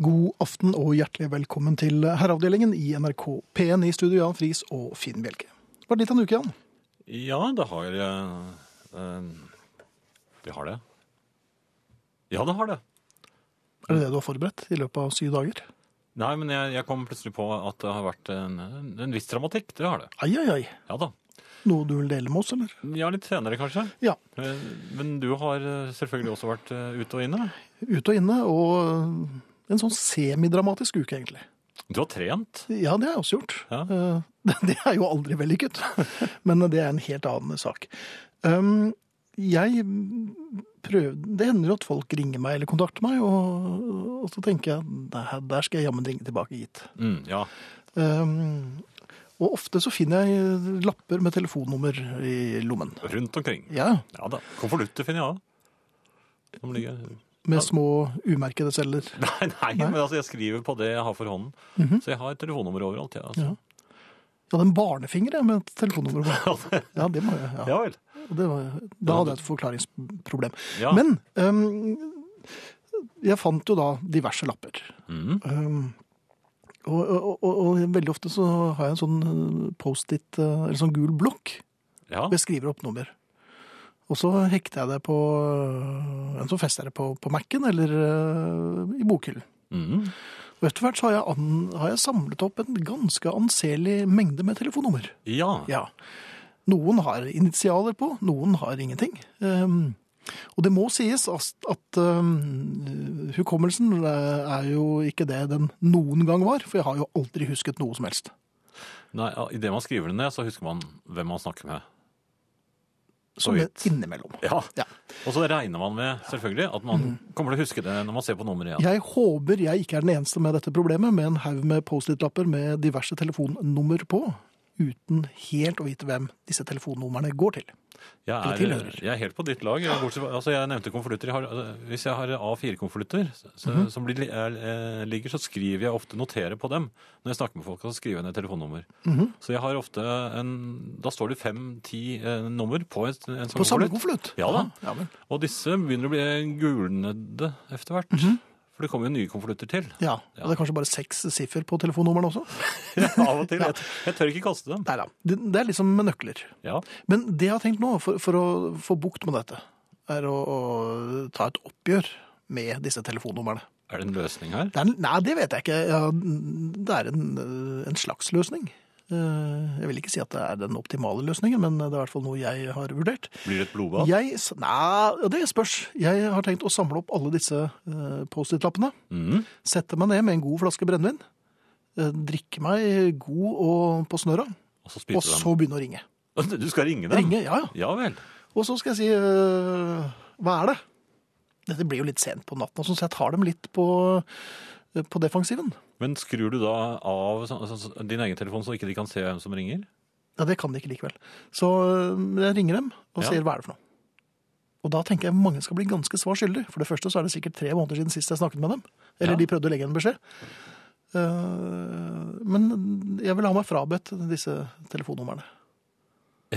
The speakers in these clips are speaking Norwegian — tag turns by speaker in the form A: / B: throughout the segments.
A: God aften og hjertelig velkommen til Herreavdelingen i NRK P1 i studio, Jan Friis og Finn Bjelke. Var det litt av en uke, Jan?
B: Ja, det har eh, eh, Det har det. Ja, det har det.
A: Er det det du har forberedt i løpet av syv dager?
B: Nei, men jeg, jeg kom plutselig på at det har vært en, en viss dramatikk. Det har det.
A: Ai, ai, ai.
B: Ja da.
A: Noe du vil dele med oss, eller?
B: Ja, litt senere kanskje.
A: Ja.
B: Eh, Men du har eh, selvfølgelig også vært eh, ute og inne.
A: Ute og inne, og en sånn semidramatisk uke, egentlig.
B: Du har trent.
A: Ja, det har jeg også gjort.
B: Ja.
A: Eh, Det er jo aldri vellykket, men det er en helt annen sak. Um, Jeg prøvde, Det hender jo at folk ringer meg eller kontakter meg, og, og så tenker jeg "Nei, der skal jeg jammen ringe tilbake, gitt.
B: Mm, ja.
A: Um, Og ofte så finner jeg lapper med telefonnummer i lommen.
B: Rundt omkring.
A: Ja,
B: Ja da. Konvolutter finner jeg òg. Som ligger
A: Med små umerkede celler.
B: Nei, nei, men altså, jeg skriver på det jeg har for hånden.
A: Mhm.
B: Så jeg har telefonnummer overalt. Ja, altså.
A: Jeg hadde en barnefinger jeg, med et telefonnummer. på. Ja, det må jeg. Ja.
B: ja vel.
A: Og Det var, da hadde jeg et forklaringsproblem.
B: Ja.
A: Men øhm, jeg fant jo da diverse lapper.
B: Mhm.
A: Øhm, og, og, og, og veldig ofte så har jeg en sånn øh, Post-It, øh, eller sånn gul blokk,
B: Ja.
A: hvor jeg skriver opp nummer. Og så hekter jeg det på øh, Så fester jeg det på, på Mac-en eller øh, i bokhyllen.
B: Mhm.
A: Og etter hvert så har jeg, an, har jeg samlet opp en ganske anselig mengde med telefonnummer.
B: ja.
A: Ja. Noen har initialer på, noen har ingenting. Um, og det må sies as- at um, hukommelsen eh, er jo ikke det den noen gang var, for jeg har jo aldri husket noe som helst.
B: Nei, ja, Idet man skriver det ned, så husker man hvem man snakker med.
A: Som
B: Så
A: det
B: vidt.
A: Sånn innimellom.
B: Ja.
A: Ja. Mm.
B: Og så regner man med selvfølgelig at man kommer til å huske det når man ser på nummeret igjen.
A: Jeg håper jeg ikke er den eneste med dette problemet, med en haug med Post-It-lapper med diverse telefonnummer på, uten helt å vite hvem disse telefonnumrene går til. Eller
B: Jeg er,
A: tilhører.
B: jeg er helt på ditt lag. Jeg, bortsett, fra- altså jeg nevnte konvolutter. Jeg har, altså, Hvis jeg har A4-konvolutter så-
A: Mhm.
B: som blir, er, eh, ligger, så skriver jeg ofte noterer på dem. Når jeg snakker med folk, så skriver jeg ned telefonnummer.
A: Mhm.
B: Så jeg har ofte en Da står det fem-ti eh, nummer på et, en sånn
A: På samme
B: konvolutt.
A: konvolutt?
B: Ja da.
A: Ja, vel.
B: Og disse begynner å bli gulnede etter hvert.
A: Mhm.
B: For det kommer jo nye konvolutter til.
A: ja. Og det er kanskje bare seks siffer på telefonnumrene også?
B: Av og til. Jeg, jeg tør ikke kaste dem.
A: Nei da. Det det er liksom med nøkler.
B: Ja.
A: Men det jeg har tenkt nå, for, for å få bukt med dette, er å, å ta et oppgjør med disse telefonnumrene.
B: Er det en løsning her?
A: Det er, en- nei, det vet jeg ikke. Ja, det er en, øh, en slags løsning. Eh, Jeg vil ikke si at det er den optimale løsningen, men det er i hvert fall noe jeg har vurdert.
B: Blir det et blodbad?
A: Jeg, s- nei, ja, det spørs. Jeg har tenkt å samle opp alle disse eh, Post-It-lappene.
B: Mhm.
A: Sette meg ned med en god flaske brennevin. eh, Drikke meg god og på snøra,
B: Og så
A: og
B: spise
A: så begynne å ringe.
B: dem? Du skal ringe dem?
A: Ringe, ja ja.
B: Ja vel.
A: Og så skal jeg si øh, Hva er det? Dette blir jo litt sent på natten, og sånn, så jeg tar dem litt på, eh, på defensiven.
B: Men skrur du da av så, så, så, din egen telefon så ikke de kan se hvem som ringer?
A: Ja, Det kan de ikke likevel. Så øh, jeg ringer dem og
B: Ja.
A: sier hva er det for noe. Og da tenker jeg mange skal bli ganske svar skyldig. For det første så er det sikkert tre måneder siden sist jeg snakket med dem. Eller
B: Ja.
A: de prøvde å legge en beskjed. Eh, men jeg vil ha meg frabedt disse telefonnumrene.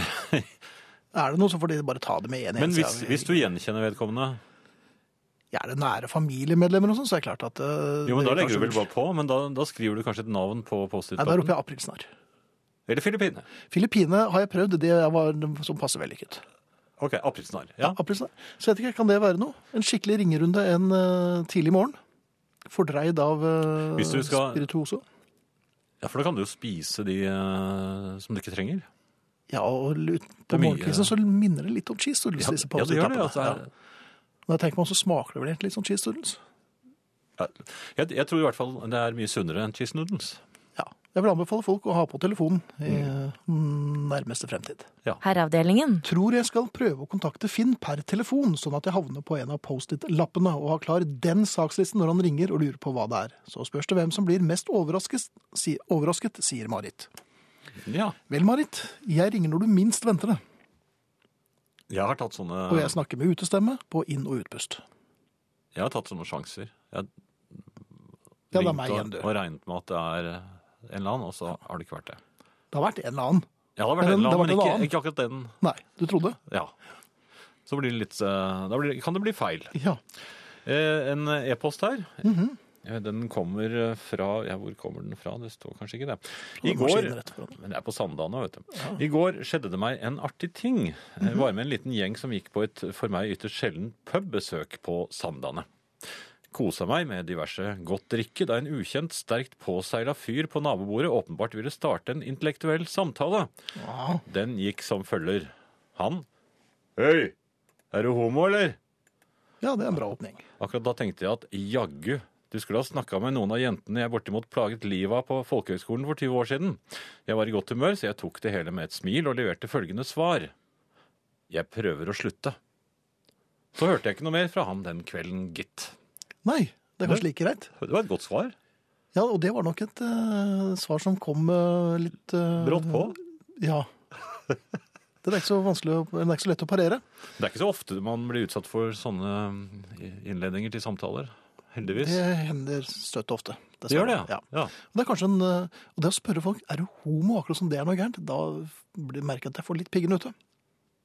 A: er det noe, så får de bare ta det med en
B: Men
A: eneste
B: hvis,
A: gang.
B: hvis du gjenkjenner vedkommende
A: Ja, er det nære familiemedlemmer og sånn, så er det klart at eh,
B: Jo, men
A: det
B: da
A: vil
B: legger du
A: kanskje-
B: vel bare på, men da, da skriver du kanskje et navn på
A: Nei, der
B: Post-It-lappen?
A: roper jeg aprilsnarr.
B: Eller Filippinene.
A: Filippine har jeg prøvd, det var som passer vellykket.
B: Ok, aprilsnarr. Ja.
A: Aprilsnarr. Så jeg vet ikke, kan det være noe? En skikkelig ringerunde en eh, tidlig morgen? Fordreid av eh,
B: Hvis du skal-
A: spirituoso?
B: ja, for da kan du jo spise de eh, som du ikke trenger.
A: Ja, og lut-
B: Det
A: på
B: er mye-
A: morgenkvisten så minner det litt om cheese doodles.
B: Ja,
A: disse
B: ja, det gjør det.
A: påsetapene.
B: Altså,
A: Ja. Når jeg tenker meg om, så smaker det vel egentlig litt som cheese doodles.
B: ja. jeg, jeg tror i hvert fall det er mye sunnere enn cheese noodles.
A: Ja. Jeg vil anbefale folk å ha på telefonen i
B: Mm.
A: eh, nærmeste fremtid.
C: Herreavdelingen.
A: Tror jeg skal prøve å kontakte Finn per telefon, sånn at jeg havner på en av Post-It-lappene og har klar den sakslisten når han ringer og lurer på hva det er. Så spørs det hvem som blir mest overrasket, si, overrasket sier Marit.
B: Ja.
A: Vel, Marit, jeg ringer når du minst venter det,
B: Jeg har tatt sånne,
A: og jeg
B: jeg
A: snakker med utestemme på inn- og utpust.
B: har tatt sånne sjanser. Jeg
A: Ja, det er
B: ringte
A: meg igjen, du.
B: og, og regnet med at det er eh, en eller annen, og så har det ikke vært det.
A: Det har vært en eller annen.
B: Ja, det har
A: Men
B: vært en
A: det har
B: eller annen,
A: vært
B: men
A: en
B: ikke,
A: annen.
B: ikke akkurat den.
A: Nei, du trodde?
B: Ja. Så blir det litt, eh, da blir, det- kan det bli feil.
A: Ja. Mhm.
B: Eh, En e-post her. Eh, Den kommer eh, fra Ja, hvor kommer den fra? Det står kanskje ikke det. I
A: den
B: går
A: maskinen rett foran.
B: Men det er på Sandane, vet du. I går skjedde det meg en artig ting. Jeg var med en liten gjeng som gikk på et for meg ytterst sjelden pubbesøk på Sandane. Kosa meg med diverse godt drikke da en ukjent, sterkt påseila fyr på nabobordet åpenbart ville starte en intellektuell samtale.
A: Ja.
B: Den gikk som følger. Han Hei! Er du homo, eller?
A: ja, det er en bra åpning.
B: Akkurat da tenkte jeg at jaggu, du skulle ha snakka med noen av jentene jeg bortimot plaget livet av på folkehøgskolen for 20 år siden. Jeg var i godt humør, så jeg tok det hele med et smil og leverte følgende svar. Jeg prøver å slutte. Så hørte jeg ikke noe mer fra han den kvelden, gitt.
A: Nei, det er kanskje like greit.
B: Det var et godt svar.
A: Ja, og det var nok et eh, svar som kom eh, litt eh,
B: Brått på.
A: Ja. Den er ikke så vanskelig, å- den er ikke så lett å parere.
B: Det er ikke så ofte man blir utsatt for sånne eh, innledninger til samtaler. Heldigvis.
A: Det hender støtt og ofte. sånn.
B: Det gjør det,
A: ja.
B: ja. ja.
A: Og det er kanskje en, eh, og det å spørre folk er du homo, akkurat som det er noe gærent, da blir- merker jeg at jeg får litt piggen ute.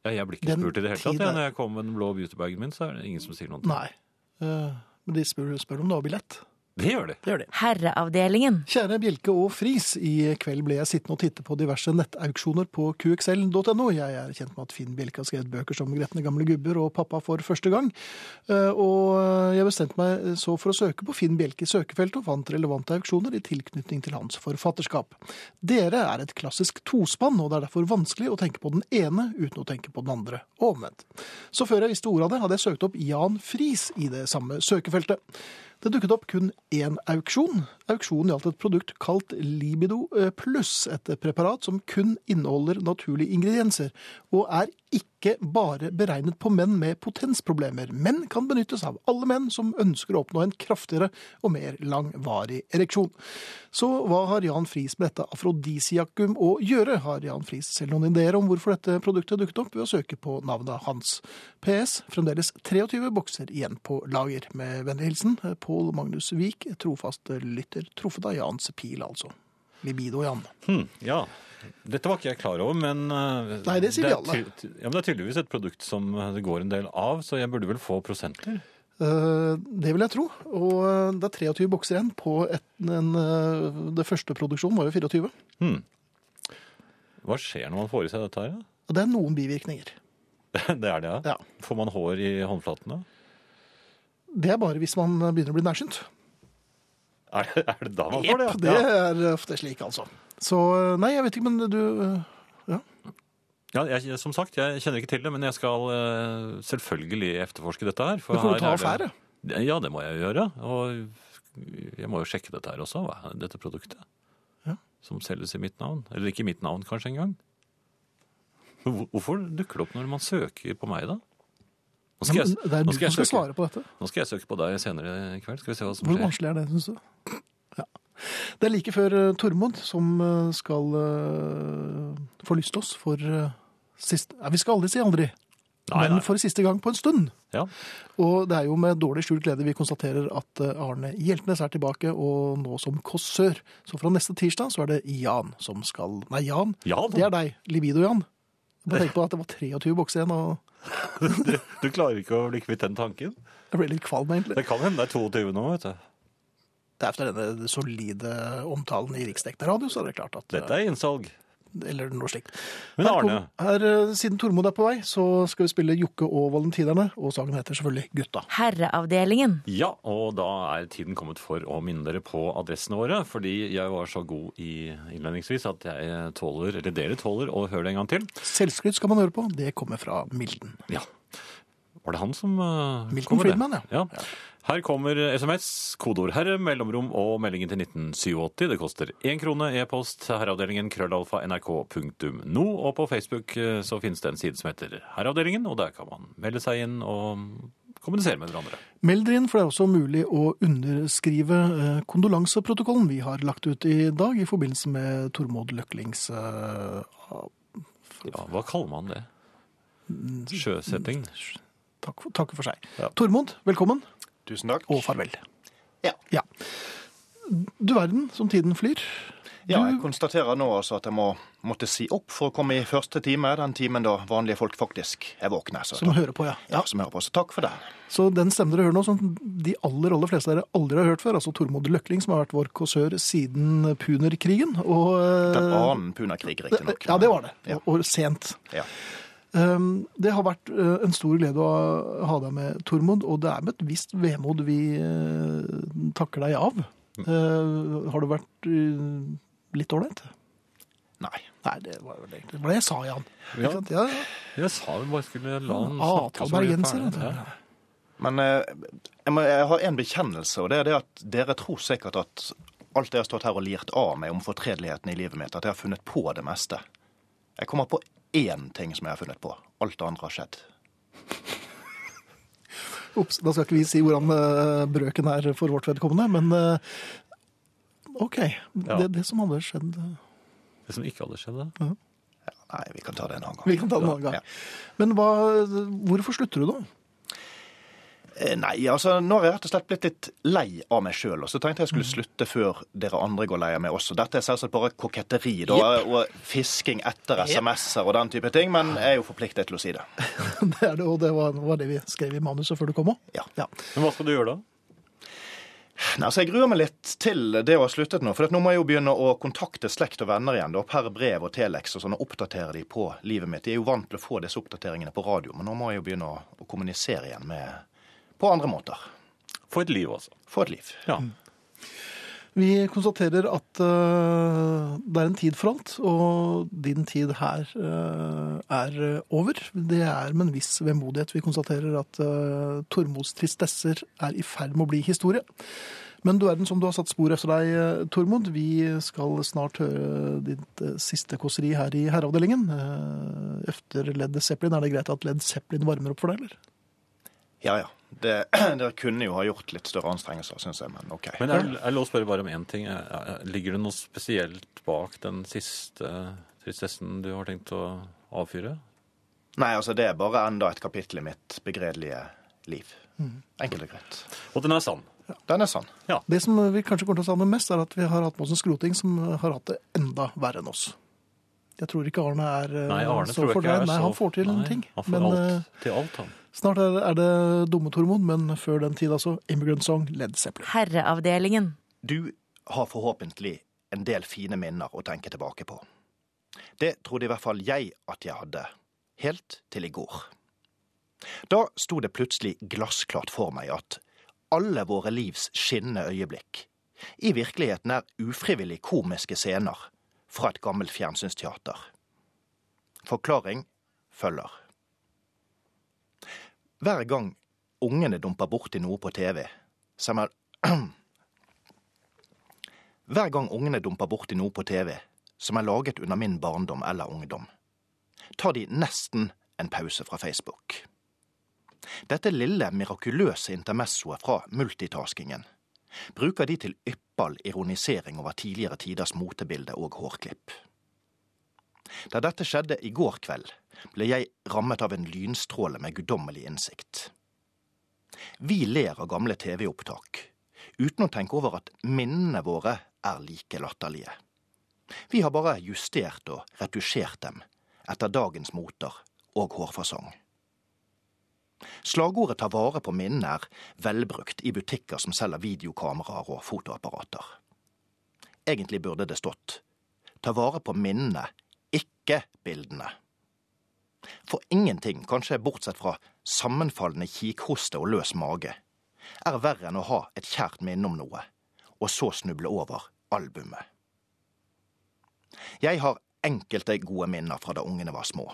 B: Ja, jeg blir ikke
A: Den
B: spurt i det hele tatt.
A: tid er-
B: Ja. Når jeg kommer med den blå beautybagen min, så er det ingen som sier noe.
A: Nei. Eh, Men de spør, spør om du har billett.
B: Det gjør de.
A: Det gjør de.
C: Herreavdelingen.
A: Kjære Bjelke og Friis, i kveld ble jeg sittende og titte på diverse nettauksjoner på qxl.no. Jeg er kjent med at Finn Bjelke har skrevet bøker som 'Gretne gamle gubber' og 'Pappa for første gang'. Eh, Og jeg bestemte meg så for å søke på Finn Bjelke i søkefeltet, og fant relevante auksjoner i tilknytning til hans forfatterskap. Dere er et klassisk tospann, og det er derfor vanskelig å tenke på den ene uten å tenke på den andre, og omvendt. Så før jeg visste ordet av det, hadde jeg søkt opp Jan Friis i det samme søkefeltet. Det dukket opp kun én auksjon. Auksjonen gjaldt et produkt kalt Libido eh, pluss, et preparat som kun inneholder naturlige ingredienser, og er ikke bare beregnet på menn med potensproblemer, men kan benyttes av alle menn som ønsker å oppnå en kraftigere og mer langvarig ereksjon. Så hva har Jan Friis med dette afrodisiakum å gjøre? Har Jan Friis selv noen ideer om hvorfor dette produktet dukket opp, ved å søke på navnet hans? PS. Fremdeles 23 bokser igjen på lager. Med vennlig hilsen Pål Magnus Vik, trofast lytter, truffet av Jans pil, altså. Libido-Jan.
B: Hmm, ja. Dette var ikke jeg klar over, men eh,
A: Nei, det sier
B: er
A: vi alle.
B: ty- ty- Ja, men det er tydeligvis et produkt som eh, det går en del av, så jeg burde vel få prosenter?
A: Eh, Det vil jeg tro. Og eh, det er 23 bokser igjen på et, en eh, Det første produksjonen var jo 24.
B: Hmm. Hva skjer når man får i seg dette her? da?
A: Og det er noen bivirkninger.
B: Det er det, ja.
A: Ja.
B: Får man hår i håndflatene?
A: Det er bare hvis man begynner å bli nærsynt.
B: Er det, er det da man får det?
A: Jepp, det
B: Ja.
A: er ofte slik, altså. Så eh, nei, jeg vet ikke, men du eh,
B: Ja, jeg, som sagt, jeg kjenner ikke til det, men jeg skal eh, selvfølgelig efterforske dette her. for
A: Du kan jo
B: her
A: ta
B: er
A: affære.
B: det- Ja, det må jeg gjøre. Og jeg må jo sjekke dette her også, hva er dette produktet.
A: Ja.
B: Som selges i mitt navn. Eller ikke i mitt navn kanskje engang. Men hvor- Hvorfor dukker det opp når man søker på meg, da? Nå skal, jeg,
A: Men Det er
B: nå
A: du
B: skal, jeg
A: som skal
B: søke,
A: svare på dette.
B: nå skal jeg søke på deg senere i kveld. Skal vi se hva som
A: Hvor
B: skjer.
A: vanskelig er det, syns du? Ja. Det er like før eh, Tormod som eh, skal eh, få lyst til oss for eh, sist Nei, Vi skal aldri si aldri,
B: Nei, nei.
A: men for siste gang på en stund.
B: Ja.
A: Og det er jo med dårlig skjult glede vi konstaterer at eh, Arne Hjeltnes er tilbake, og nå som kåsør. Så fra neste tirsdag så er det Jan som skal Nei, Jan,
B: ja
A: det
B: da.
A: er deg. Libido-Jan. Bare tenk på at det var 23 bokser igjen, og
B: Du klarer ikke å bli kvitt den tanken.
A: jeg ble litt kvalm, egentlig.
B: Det kan hende det er 22 nå, vet du.
A: Det er Efter denne solide omtalen i riksdekkende radio, så er det klart at eh,
B: Dette er innsalg.
A: Eller noe slikt.
B: Men
A: Her kom-
B: Arne?
A: Her, eh, siden Tormod er på vei, så skal vi spille Jokke og Valentinerne, og sangen heter selvfølgelig Gutta.
C: Herreavdelingen.
B: Ja, og da er tiden kommet for å minne dere på adressene våre. Fordi jeg var så god i innledningsvis at jeg tåler, eller dere tåler, å høre det en gang til.
A: Selvskryt skal man høre på, det kommer fra Milden.
B: Ja. Var det han som uh,
A: Milton
B: kom med det?
A: Friedman, ja.
B: ja. Her kommer SMS, kodeord 'herre', mellomrom og meldingen til 1987. Det koster én krone. E-post herreavdelingen krøllalfa nrk.no. Og på Facebook eh, så finnes det en side som heter Herreavdelingen, og der kan man melde seg inn og kommunisere med hverandre.
A: Meld dere inn, for det er også mulig å underskrive eh, kondolanseprotokollen vi har lagt ut i dag i forbindelse med Tormod Løklings eh,
B: Ja, hva kaller man det? Sjøsetting?
A: takk, for- takk for seg.
B: Ja.
A: Tormod, velkommen,
D: Tusen takk.
A: og farvel.
D: Ja.
A: Du verden som tiden flyr.
D: Ja, jeg konstaterer nå altså at jeg må, måtte si opp for å komme i første time, den timen da vanlige folk faktisk er våkne. Så,
A: Som hører på, ja.
D: ja, som hører på. Så takk for det.
A: Så den stemmen dere hører nå, som de aller aller fleste av dere aldri har hørt før, altså Tormod Løkling, som har vært vår kåsør siden punerkrigen. Og, eh,
D: Den annen punakrig, riktignok.
A: Ja, det var det.
D: Ja.
A: Og, og sent.
D: Ja.
A: Um, det har vært eh, en stor glede å ha deg med, Tormod, og det er med et visst vemod vi eh, takker deg av.
D: Mm.
A: Eh, har du vært eh, litt ålreit?
D: Nei.
A: Nei, det var jo det. Det var det jeg sa, Jan.
B: Ja.
A: Ikke sant? Ja, ja.
B: Jeg sa vi bare skulle la han
A: Ah,
B: snakke. så
A: Talberg
B: blir vi
A: Jensen,
B: ferdig.
A: vet du.
B: Ja.
D: Men eh, jeg, må, jeg har en bekjennelse, og det er det at dere tror sikkert at alt jeg har stått her og lirt av meg om fortredeligheten i livet mitt, at jeg har funnet på det meste. Jeg kommer på én ting som jeg har funnet på. Alt det andre har skjedd.
A: Ops, da skal ikke vi si hvordan eh, brøken er for vårt vedkommende, men eh, OK. Det, det som hadde skjedd eh,
B: Det som ikke hadde skjedd, da.
D: Nei, vi kan ta det en annen gang.
A: Vi kan ta det en annen gang.
D: Ja.
A: Men hva, hvorfor slutter du, da?
D: Eh, Nei, altså nå har jeg rett og slett blitt litt lei av meg sjøl. Og så tenkte jeg skulle slutte før dere andre går lei av meg også. Dette er selvsagt bare koketteri da, og fisking etter SMS-er og den type ting, men jeg er jo forpliktet til å si det.
A: Det er det, og det var, var det vi skrev i manuset før du kom òg.
D: Ja.
B: Men hva skal du gjøre da?
D: Nei, altså Jeg gruer meg litt til det å ha sluttet nå. For at nå må jeg jo begynne å kontakte slekt og venner igjen da, per brev og telex og sånn, og oppdatere de på livet mitt. Jeg er jo vant til å få disse oppdateringene på radio, men nå må jeg jo begynne å, å kommunisere igjen med, på andre måter.
B: Få et liv, altså.
D: Få et liv.
B: Ja.
A: Mm. Vi konstaterer at eh, det er en tid for alt, og din tid her eh, er eh, over. Det er med en viss vemodighet vi konstaterer at uh, Tormods tristesser er i ferd med å bli historie. Men du verden som du har satt spor etter deg, eh, Tormod. Vi skal snart høre ditt eh, siste kåseri her i herreavdelingen. Eh, Efter Led Zeppelin, er det greit at Led Zeppelin varmer opp for deg, eller?
D: Ja, ja. Det, dere kunne jo ha gjort litt større anstrengelser, syns jeg, men OK.
B: Men jeg, jeg lov å spørre bare om én ting. Er- er- Ligger det noe spesielt bak den siste tristessen du har tenkt å avfyre?
D: Nei, altså det er bare enda et kapittel i mitt begredelige liv. Enkelt og greit.
B: Og den er sann.
D: Den er sann.
A: Det som vi kanskje kommer til å savne mest, er at vi har hatt med oss en skroting som har hatt det enda verre enn oss. Jeg tror ikke Arne er eh,
B: Nei, Arne
A: så
B: tror jeg ikke
A: fordreid.
B: er så
A: Nei, han får til
B: Nei,
A: ting.
B: Han får
A: Men eh,
B: alt, til alt, han.
A: snart er, er det dumme Tormod, men før den tid altså Immigrant Song, Led Zeppelin.
C: Herreavdelingen.
D: Du har forhåpentlig en del fine minner å tenke tilbake på. Det trodde i hvert fall jeg at jeg hadde, helt til i går. Da sto det plutselig glassklart for meg at alle våre livs skinnende øyeblikk i virkeligheten er ufrivillig komiske scener fra et gammelt fjernsynsteater. Forklaring følger. Hver gang ungene dumper borti noe på TV, ser man hver gang ungene dumper borti noe på TV som er laget under min barndom eller ungdom, tar de nesten en pause fra Facebook. Dette lille, mirakuløse intermessoet fra multitaskingen bruker de til yppal ironisering over tidligere tiders motebilde og hårklipp. Da dette skjedde i går kveld, ble jeg rammet av en lynstråle med guddommelig innsikt. Vi ler av gamle TV-opptak, uten å tenke over at minnene våre er like latterlige. Vi har bare justert og retusjert dem etter dagens moter og hårfasong. Slagordet 'ta vare på minnene' er velbrukt i butikker som selger videokameraer og fotoapparater. Egentlig burde det stått 'ta vare på minnene, ikke bildene'. For ingenting, kanskje bortsett fra sammenfallende kikhoste og løs mage, er verre enn å ha et kjært minne om noe, og så snuble over albumet. Jeg har enkelte gode minner fra da ungene var små.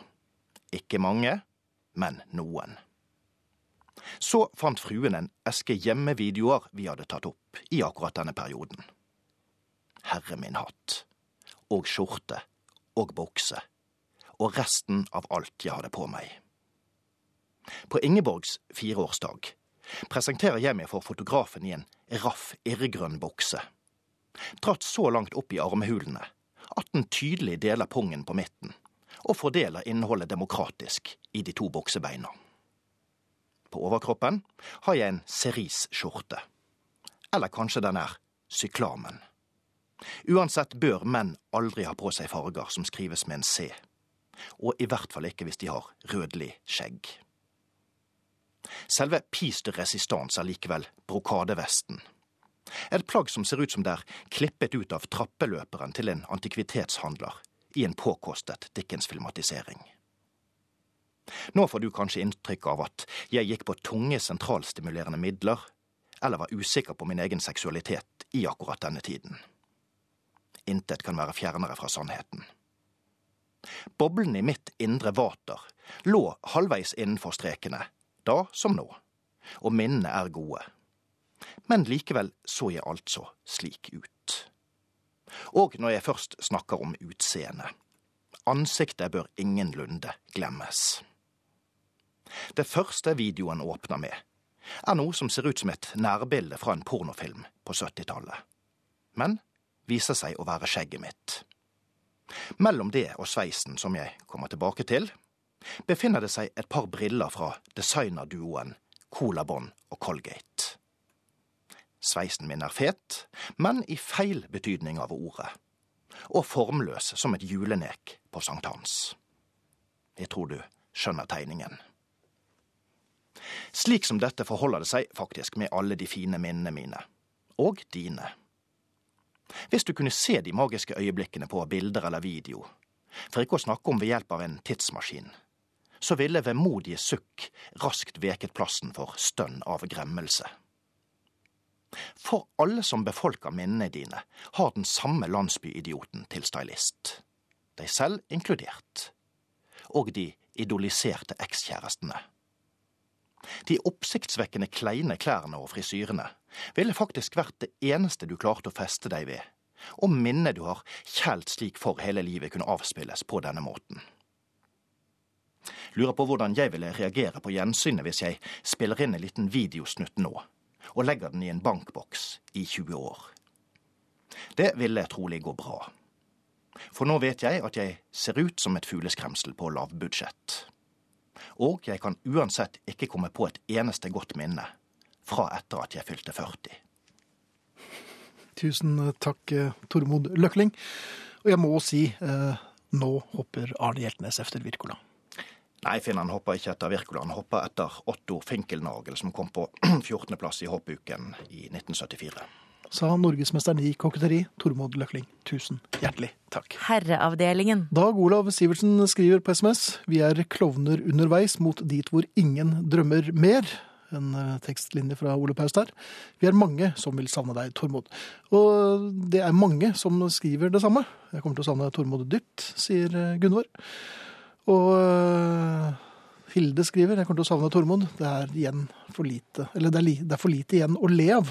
D: Ikke mange, men noen. Så fant fruen en eske hjemmevideoer vi hadde tatt opp i akkurat denne perioden. Herre min hatt. Og skjorte. Og bukse og resten av alt jeg hadde på meg. På Ingeborgs fireårsdag presenterer jeg meg for fotografen i en raff, irrgrønn bukse. Dratt så langt opp i armhulene at den tydelig deler pungen på midten, og fordeler innholdet demokratisk i de to buksebeina. På overkroppen har jeg en cerise-skjorte. Eller kanskje den er syklamen. Uansett bør menn aldri ha på seg farger som skrives med en C, og i hvert fall ikke hvis de har rødlig skjegg. Selve piece de resistance er likevel brokadevesten. Et plagg som ser ut som det er klippet ut av trappeløperen til en antikvitetshandler i en påkostet Dickens-filmatisering. Nå får du kanskje inntrykk av at jeg gikk på tunge sentralstimulerende midler, eller var usikker på min egen seksualitet i akkurat denne tiden. Intet kan være fjernere fra sannheten. Boblen i mitt indre vater lå halvveis innenfor strekene, da som nå, og minnene er gode. Men likevel så jeg altså slik ut. Og når jeg først snakker om utseende. Ansiktet bør ingenlunde glemmes. Det første videoen åpner med, er noe som ser ut som et nærbilde fra en pornofilm på 70-tallet. Men viser seg å være skjegget mitt. Mellom det og sveisen, som jeg kommer tilbake til, befinner det seg et par briller fra designerduoen Colabond og Colgate. Sveisen min er fet, men i feil betydning av ordet. Og formløs som et julenek på sankthans. Jeg tror du skjønner tegningen. Slik som dette forholder det seg faktisk med alle de fine minnene mine. Og dine. Hvis du kunne se de magiske øyeblikkene på bilder eller video, for ikke å snakke om ved hjelp av en tidsmaskin, så ville vemodige sukk raskt veket plassen for stønn av gremmelse. For alle som befolker minnene dine, har den samme landsbyidioten til stylist. Deg selv inkludert. Og de idoliserte ekskjærestene. De oppsiktsvekkende kleine klærne og frisyrene ville faktisk vært det eneste du klarte å feste deg ved, og minnet du har kjælt slik for hele livet kunne avspilles på denne måten. Lurer på hvordan jeg ville reagere på gjensynet hvis jeg spiller inn en liten videosnutt nå, og legger den i en bankboks i 20 år. Det ville trolig gå bra. For nå vet jeg at jeg ser ut som et fugleskremsel på lavbudsjett og jeg kan uansett ikke komme på et eneste godt minne fra etter at jeg fylte 40.
A: Tusen takk, eh, Tormod Løkling. Og jeg må si, eh, nå hopper Arne Hjeltnes efter Wirkola.
D: Nei, Finn han hoppa ikke etter Wirkola, han hoppa etter Otto Finkelnagel, som kom på 14.-plass i hoppuken i 1974.
A: Sa norgesmesteren i koketteri, Tormod Løkling. Tusen hjertelig takk.
C: Herreavdelingen.
A: Dag Olav Sivertsen skriver på SMS Vi er klovner underveis mot dit hvor ingen drømmer mer. En eh, tekstlinje fra Ole Paus der. Vi er mange som vil savne deg, Tormod. Og det er mange som skriver det samme. Jeg kommer til å savne Tormod dypt, sier eh, Gunvor. Og eh, Hilde skriver Jeg kommer til å savne Tormod. Det er igjen for lite Eller det er, li, det er for lite igjen å le av.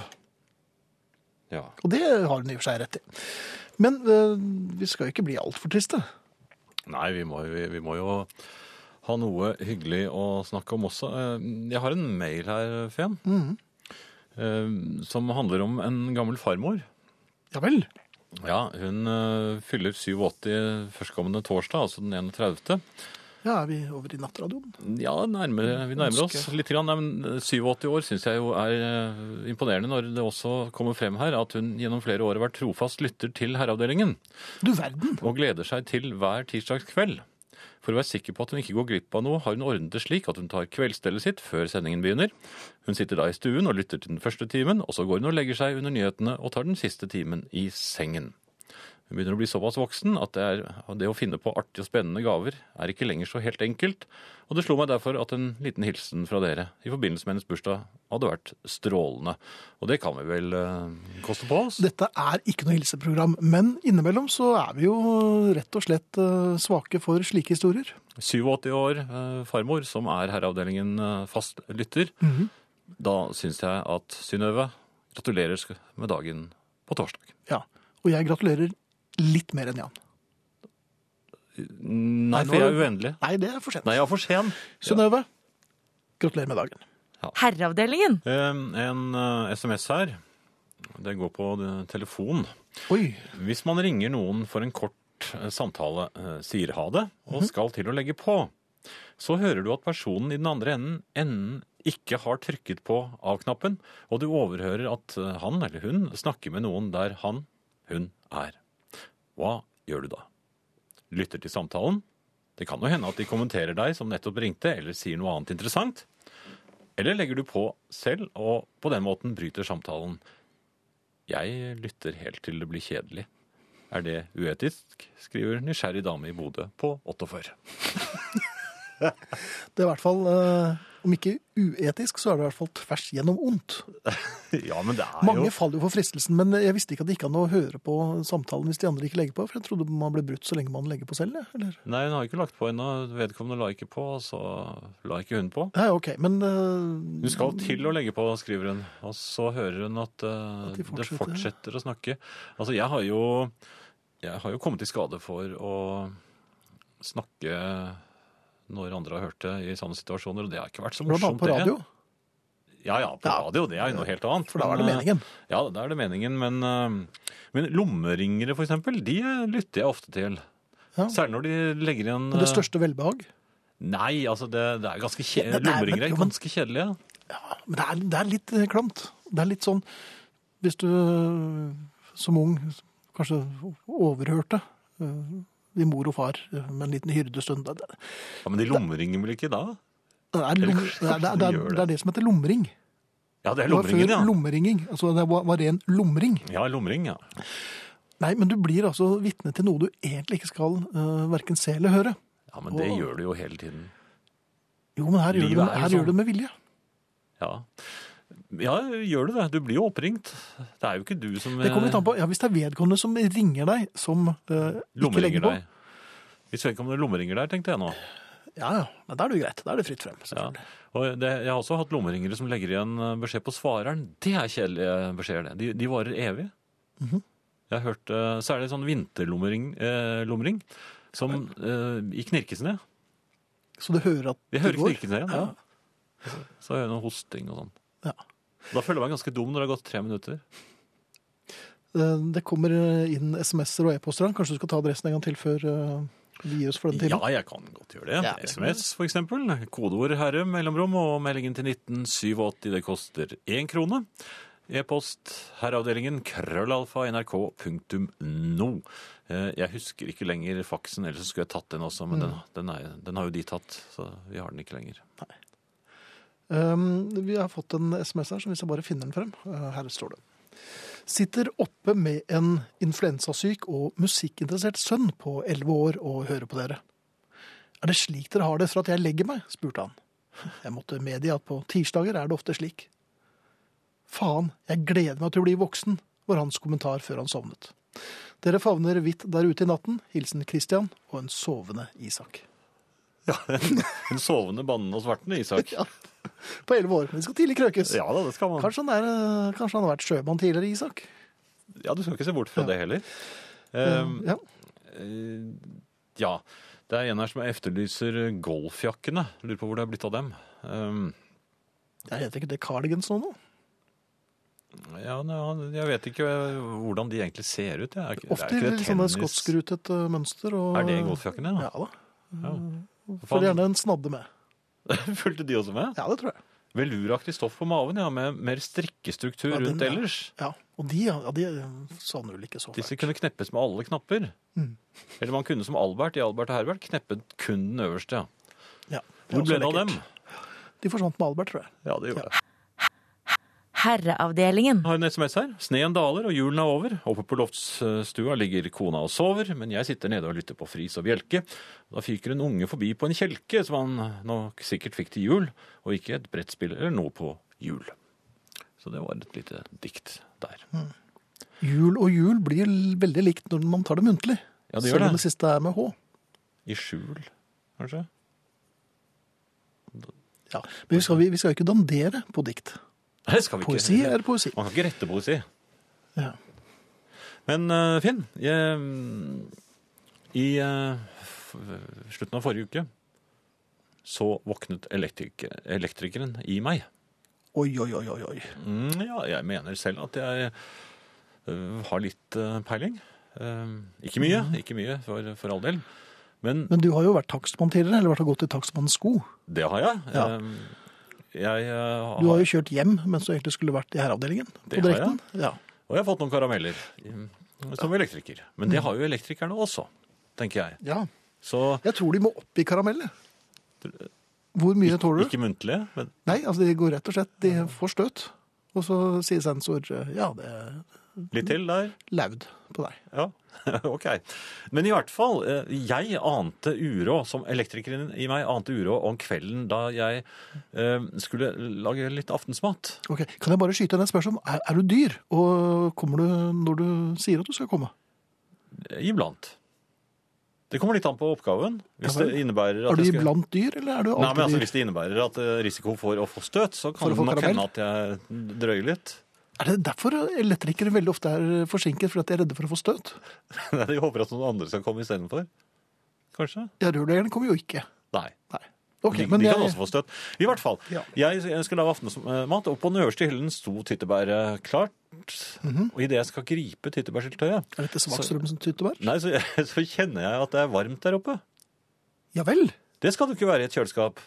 B: Ja.
A: Og det har hun i og for seg rett i. Men eh, vi skal jo ikke bli altfor triste.
B: Nei, vi må, vi, vi må jo ha noe hyggelig å snakke om også. Eh, Jeg har en mail her, Fen, eh, som handler om en gammel farmor.
A: Ja vel.
B: Ja, hun eh, fyller 87 førstkommende torsdag, altså den 31.
A: Ja, er vi over i nattradioen?
B: Ja, nærmere, vi nærmer oss
A: Ønske.
B: litt. Grann. Nei, men 87 år syns jeg jo er eh, imponerende når det også kommer frem her at hun gjennom flere år har vært trofast lytter til Herreavdelingen
A: Du verden!
B: og gleder seg til hver tirsdagskveld. For å være sikker på at hun ikke går glipp av noe, har hun ordnet det slik at hun tar kveldsstellet sitt før sendingen begynner. Hun sitter da i stuen og lytter til den første timen, og så går hun og legger seg under nyhetene og tar den siste timen i sengen. Hun begynner å bli såpass voksen at det, er, det å finne på artige og spennende gaver er ikke lenger så helt enkelt, og det slo meg derfor at en liten hilsen fra dere i forbindelse med hennes bursdag hadde vært strålende. Og det kan vi vel eh, koste på oss?
A: Dette er ikke noe hilseprogram, men innimellom så er vi jo rett og slett eh, svake for slike historier.
B: 87 år, eh, farmor, som er herreavdelingen eh, fast lytter.
A: Mhm.
B: Da syns jeg at Synnøve gratulerer sk- med dagen på torsdag.
A: Ja. Og jeg gratulerer litt mer enn Jan.
B: Nei,
A: nå
B: for jeg
A: er
B: er uendelig.
A: Nei, det er for sent.
B: Nei, jeg er for sen.
A: Synnøve, gratulerer med dagen.
C: Herreavdelingen.
B: Eh, En eh, SMS her. Det går på eh, telefon.
A: Oi.
B: Hvis man ringer noen for en kort eh, samtale, eh, sier ha det, og skal til å legge på, så hører du at personen i den andre enden, enden ikke har trykket på av-knappen, og du overhører at eh, han eller hun snakker med noen der han hun er. Hva gjør du da? Lytter til samtalen? Det kan jo hende at de kommenterer deg som nettopp ringte, eller sier noe annet interessant. Eller legger du på selv, og på den måten bryter samtalen. Jeg lytter helt til det blir kjedelig. Er det uetisk? skriver nysgjerrig dame i Bodø på 48.
A: Det er i hvert fall, eh, om ikke uetisk, så er det i hvert fall tvers gjennom ondt.
B: Ja, men det er
A: Mange
B: jo
A: faller jo for fristelsen, men jeg visste ikke at det gikk an å høre på samtalen hvis de andre ikke legger på, for jeg trodde man ble brutt så lenge man legger på selv, jeg, eller?
B: Nei, hun har ikke lagt på ennå. Vedkommende la ikke på, og så la ikke hun på.
A: Ja, ok, men
B: Hun
A: eh,
B: skal til å legge på, skriver hun. Og så hører hun at, eh,
A: At de
B: det
A: fortsetter.
B: fortsetter å snakke. Altså, jeg har jo, jeg har jo kommet i skade for å snakke når andre har hørt det i sånne situasjoner, og det har ikke vært så
A: blant
B: morsomt.
A: annet på
B: det.
A: radio,
B: Ja, ja, på
A: Ja.
B: radio. Det er jo noe helt annet.
A: for da var det
B: Men, eh,
A: meningen.
B: Ja, da er det meningen, men, eh, men lommeringere, for eksempel, de eh, lytter jeg ofte til.
A: Ja.
B: Særlig når de legger igjen eh,
A: Og det største velbehag.
B: Nei, altså, det, det er ganske kje-
A: Nei, men-
B: Lommeringere
A: jo,
B: er
A: men-
B: ganske kjedelige.
A: Ja, men det er, det er litt eh, klamt. Det er litt sånn, hvis du eh, som ung kanskje overhørte eh, din mor og far eh, med en liten hyrdestund, det, det,
B: Ja, men de lommeringer vel ikke da?
A: det, er, lom, det,
B: kanskje
A: er, det, er,
B: gjør det.
A: det er det som heter lomring.
B: Ja, det er
A: Det var
B: lomringen,
A: før
B: ja.
A: lomringing, altså det var, var ren lomring.
B: Ja, lomring, ja.
A: Nei, men du blir altså vitne til noe du egentlig ikke skal uh, verken se eller høre.
B: Ja, men det
A: Åh.
B: gjør du jo hele tiden.
A: Jo, men her, gjør du,
B: Livet
A: det-
B: er jo
A: her
B: sånn.
A: gjør du det med vilje.
B: Ja. ja, gjør du det? Du blir jo oppringt. Det er jo ikke du som
A: Det kommer litt an på, ja, Hvis det er vedkommende som ringer deg, som eh, ikke legger på
B: deg. Hvis vedkommende lommeringer der, tenkte jeg nå.
A: Ja, ja, men Da er det jo greit. Da er det fritt frem.
B: Ja.
A: selvfølgelig.
B: Og det, jeg har også hatt lommeringere som legger igjen eh, beskjed på svareren. Det er kjedelige eh, beskjeder, det. De, de varer evig. Jeg har hørt eh, Så er det sånn vinterlommering eh, lommering, som eh, i knirkesene.
A: Så du hører at det
B: Jeg hører knirkesene igjen. Ja. Så hører jeg noe hosting og sånn.
A: Ja.
B: Da føler jeg meg ganske dum når det har gått tre minutter.
A: Eh, Det kommer inn SMS-er og e-poster. her. Kanskje du skal ta adressen en gang til før eh, vi gir oss for den
B: Ja,
A: timen?
B: jeg kan godt gjøre det.
A: Ja.
B: SMS, for eksempel. Kodeord herre, mellomrom og meldingen til 1987. Det koster én krone. E-post herreavdelingen krøllalfa nrk.no. Eh, Jeg husker ikke lenger faksen, ellers så skulle jeg tatt den også, men den,
A: Mm.
B: den, er, den har jo de tatt, så vi har den ikke lenger.
A: Um, vi har fått en SMS her, så hvis jeg bare finner den frem. Uh, her står det. Sitter oppe med en influensasyk og musikkinteressert sønn på 11 år og hører på dere. Er det slik dere har det etter at jeg legger meg? spurte han. Jeg måtte medgi at på tirsdager er det ofte slik. Faen, jeg gleder meg til å bli voksen, var hans kommentar før han sovnet. Dere favner vidt der ute i natten. Hilsen Christian og en sovende Isak.
B: Den sovende, bannende og svartende, Isak.
A: Ja. På 11 år. Men det skal tidlig krøkes.
B: Ja da, det skal man.
A: Kanskje han, er, eh, kanskje han har vært sjømann tidligere, Isak?
B: Ja, du skal ikke se bort fra det heller. Um,
A: ja.
B: Eh, ja, det er en her som efterlyser golfjakkene. Lurer på hvor det er blitt av dem. Um,
A: Jeg heter ikke det cardigans nå, nå?
B: ja, nei, han- jeg vet ikke eh, hvordan de egentlig ser ut. jeg. Er ikke-
A: Ofte
B: er ikke
A: i
B: det
A: litt sånne
B: tennis-
A: skotsskrutet eh, mønster. Og,
B: Er det golfjakkene?
A: Ja
B: Ja.
A: da. Får
B: Faen,
A: gjerne en snadde med.
B: Fulgte de også med?
A: Ja, det tror jeg.
B: Veluraktig stoff på maven, ja, med mer strikkestruktur
A: Ja, den,
B: rundt
A: ja.
B: ellers.
A: Ja, Og de, ja, de eh, savner vel ikke så fælt.
B: Disse kunne kneppes med alle knapper.
A: Mm.
B: Eller man kunne som Albert i Albert og Herbert kneppet kun den øverste. ja.
A: Ja, er
B: Hvor
A: også
B: ble det av
A: lekkert.
B: dem?
A: De forsvant med Albert, tror jeg.
B: Ja, det gjorde det.
C: Herreavdelingen.
B: har en SMS her. Sneen daler, og julen er over. Oppe på loftstua ligger kona og sover, men jeg sitter nede og lytter på fris og bjelke. Da fyker en unge forbi på en kjelke, som han nok sikkert fikk til jul, og ikke et brettspill eller noe på jul. Så det var et lite dikt der.
A: Jul og jul blir l- veldig likt når man tar det muntlig.
B: Ja, det gjør
A: Selv
B: det.
A: om det siste er med H.
B: I skjul, kanskje?
A: Ja. Men vi skal, vi, vi skal jo ikke dandere på dikt.
B: Nei, det skal vi ikke.
A: Poesi er poesi.
B: Man kan ikke rette poesi.
A: Ja.
B: Men eh, Finn, jeg, mm, i eh, f- slutten av forrige uke så våknet elektrik elektrikeren i meg.
A: Oi, oi, oi, oi, oi.
B: Mm, ja, jeg mener selv at jeg eh, har litt eh, peiling. Eh, ikke mye,
A: Mm.
B: ikke mye for, for all del. Men
A: Men du har jo vært takstmann tidligere, eller i hvert fall gått i takstmannens sko.
B: det har jeg.
A: Ja.
B: Eh, jeg eh,
A: Du har
B: har,
A: jo kjørt hjem mens du egentlig skulle vært i herreavdelingen. på
B: Det har
A: direkten. Ja.
B: og jeg har fått noen karameller. Mm, som elektriker. Men
A: Mm.
B: det har jo elektrikerne også, tenker jeg.
A: Ja.
B: Så
A: Jeg tror de må opp i karamellet. Hvor mye tåler du?
B: ikke muntlig, men
A: Nei, altså de går rett og slett, de får støt. Og så sier sensor ja, det er
B: litt til der.
A: laud på deg.
B: Ja, ok. Men i hvert fall, eh, jeg ante uro, som elektrikeren i meg ante uro om kvelden da jeg eh, skulle lage litt aftensmat.
A: Ok, Kan jeg bare skyte inn et spørsmål? Er, er du dyr? Og kommer du når du sier at du skal komme?
B: Eh, Iblant. Det kommer litt an på oppgaven. Hvis
A: Ja vel.
B: det innebærer at
A: Er du
B: jeg skal...
A: iblant dyr, eller er du
B: Nei,
A: alltid
B: men altså,
A: dyr?
B: Hvis det innebærer at eh, risiko for å få støt, så
A: For
B: kan
A: å
B: det
A: få
B: nok
A: karamell?
B: hende at jeg drøyer litt.
A: Er det derfor elektrikere veldig ofte er forsinket fordi at de er redde for å få støt?
B: Nei, Jeg håper at noen andre skal komme istedenfor. Kanskje?
A: Ja, Rørleggeren kommer jo ikke.
B: Nei.
A: Nei. Ok,
B: de,
A: men
B: de
A: jeg,
B: kan også få støtt. I hvert fall.
A: Ja.
B: Jeg, jeg skal lage aftensmat, og på den øverste hyllen sto tyttebæret klart.
A: Mhm.
B: Og idet jeg skal gripe tyttebærsyltetøyet,
A: er dette Svakstrøm som tyttebær?
B: nei, så, så kjenner jeg at det er varmt der oppe.
A: Ja vel?
B: Det skal det ikke være i et kjøleskap.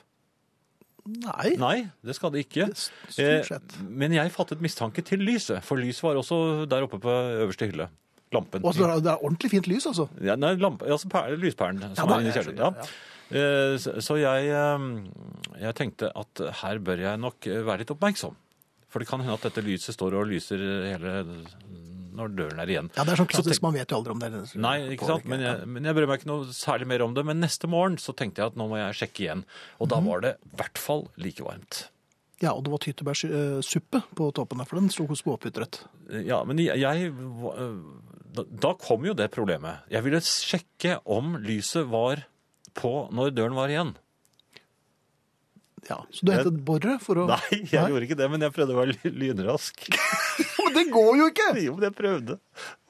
A: Nei.
B: Nei, det skal det ikke.
A: S- Stort sett.
B: Eh, men jeg fattet mistanke til lyset, for lys var også der oppe på øverste hylle. Lampen.
A: Og altså, det, er, det er ordentlig fint lys, altså.
B: Ja, nei, lamp, altså per, lyspæren som
A: da,
B: er inni
A: jeg
B: kjelleren.
A: skjønner,
B: Ja. Eh, Så, så jeg, eh, jeg tenkte at her bør jeg nok eh, være litt oppmerksom. For det kan hende at dette lyset står og lyser hele når døren er igjen.
A: Ja, Det er sånn
B: Så
A: klassisk,
B: tenk-
A: man vet jo aldri om det. er-
B: Nei, ikke sant? Men jeg, men jeg brød meg ikke noe særlig mer om det. Men neste morgen så tenkte jeg at nå må jeg sjekke igjen. Og
A: Mhm.
B: da var det i hvert fall like varmt.
A: Ja, og det var tyttebærsuppe på toppen der, for den sto hos småputrett.
B: Eh, Ja, men jeg, jeg eh, da, da kom jo det problemet. Jeg ville sjekke om lyset var på når døren var igjen.
A: Ja, så du hentet boret for å
B: Nei, jeg gjorde ikke det, men jeg prøvde å være ly- lynrask.
A: Men det går jo ikke!
B: Jo, men jeg prøvde.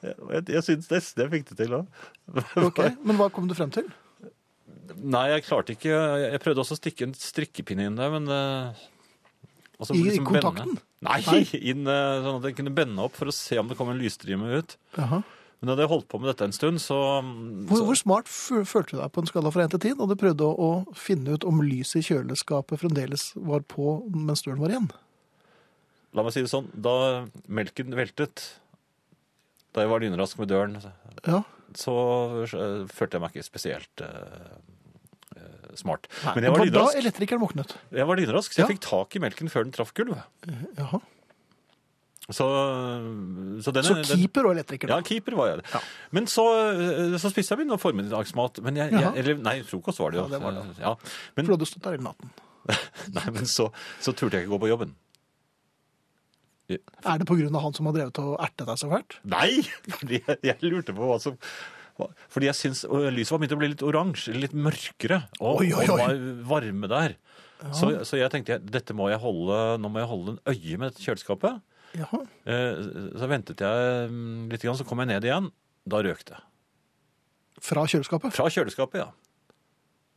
B: Jeg, jeg, jeg syns nesten jeg fikk det til òg.
A: Ok, Men hva kom du frem til?
B: Nei, jeg klarte ikke Jeg jeg prøvde også å stikke en strikkepinne inn der, men eh, og så
A: I- i
B: bende.
A: kontakten?
B: Nei,
A: Nei.
B: inn, eh, sånn at jeg kunne bende opp for å se om det kom en lysstrime ut.
A: Jaha.
B: Men da hadde jeg holdt på med dette en stund, så,
A: Hvor,
B: så
A: hvor smart fø- følte du deg på en skala fra 1 til 10 da du prøvde å, å finne ut om lyset i kjøleskapet fremdeles var på mens døren var igjen?
B: La meg si det sånn. Da melken veltet, da jeg var lynrask med døren,
A: Ja,
B: så eh, følte jeg meg ikke spesielt eh, eh, smart. Men
A: Det
B: jeg var
A: var da
B: lynrask.
A: elektrikeren våknet.
B: Jeg var lynrask, så jeg
A: Ja.
B: fikk tak i melken før den traff gulvet.
A: Jaha.
B: Så, så, denne,
A: Så
B: den,
A: keeper og elektriker.
B: ja,
A: da.
B: keeper var jeg. Men så, eh, så spiste jeg min formiddagsmat. Men jeg,
A: Jaha.
B: jeg, eller, nei, frokost var det jo.
A: Ja, det var det.
B: Ja. Men,
A: For du hadde stått der hele natten.
B: nei, men så, så turte jeg ikke gå på jobben.
A: Er det pga. han som har drevet og ertet deg så fælt?
B: Nei! Fordi jeg, jeg lurte på hva som hva- Fordi jeg syns ø, lyset var begynt å bli litt oransje, litt mørkere, og,
A: Oi, oi,
B: og
A: oi.
B: det var varme der. Så, så jeg tenkte jeg, dette må jeg holde, nå må jeg holde en øye med dette kjøleskapet.
A: Jaha.
B: Eh, Så ventet jeg mm, litt, grann, så kom jeg ned igjen. Da røk det.
A: Fra kjøleskapet?
B: Fra kjøleskapet, ja.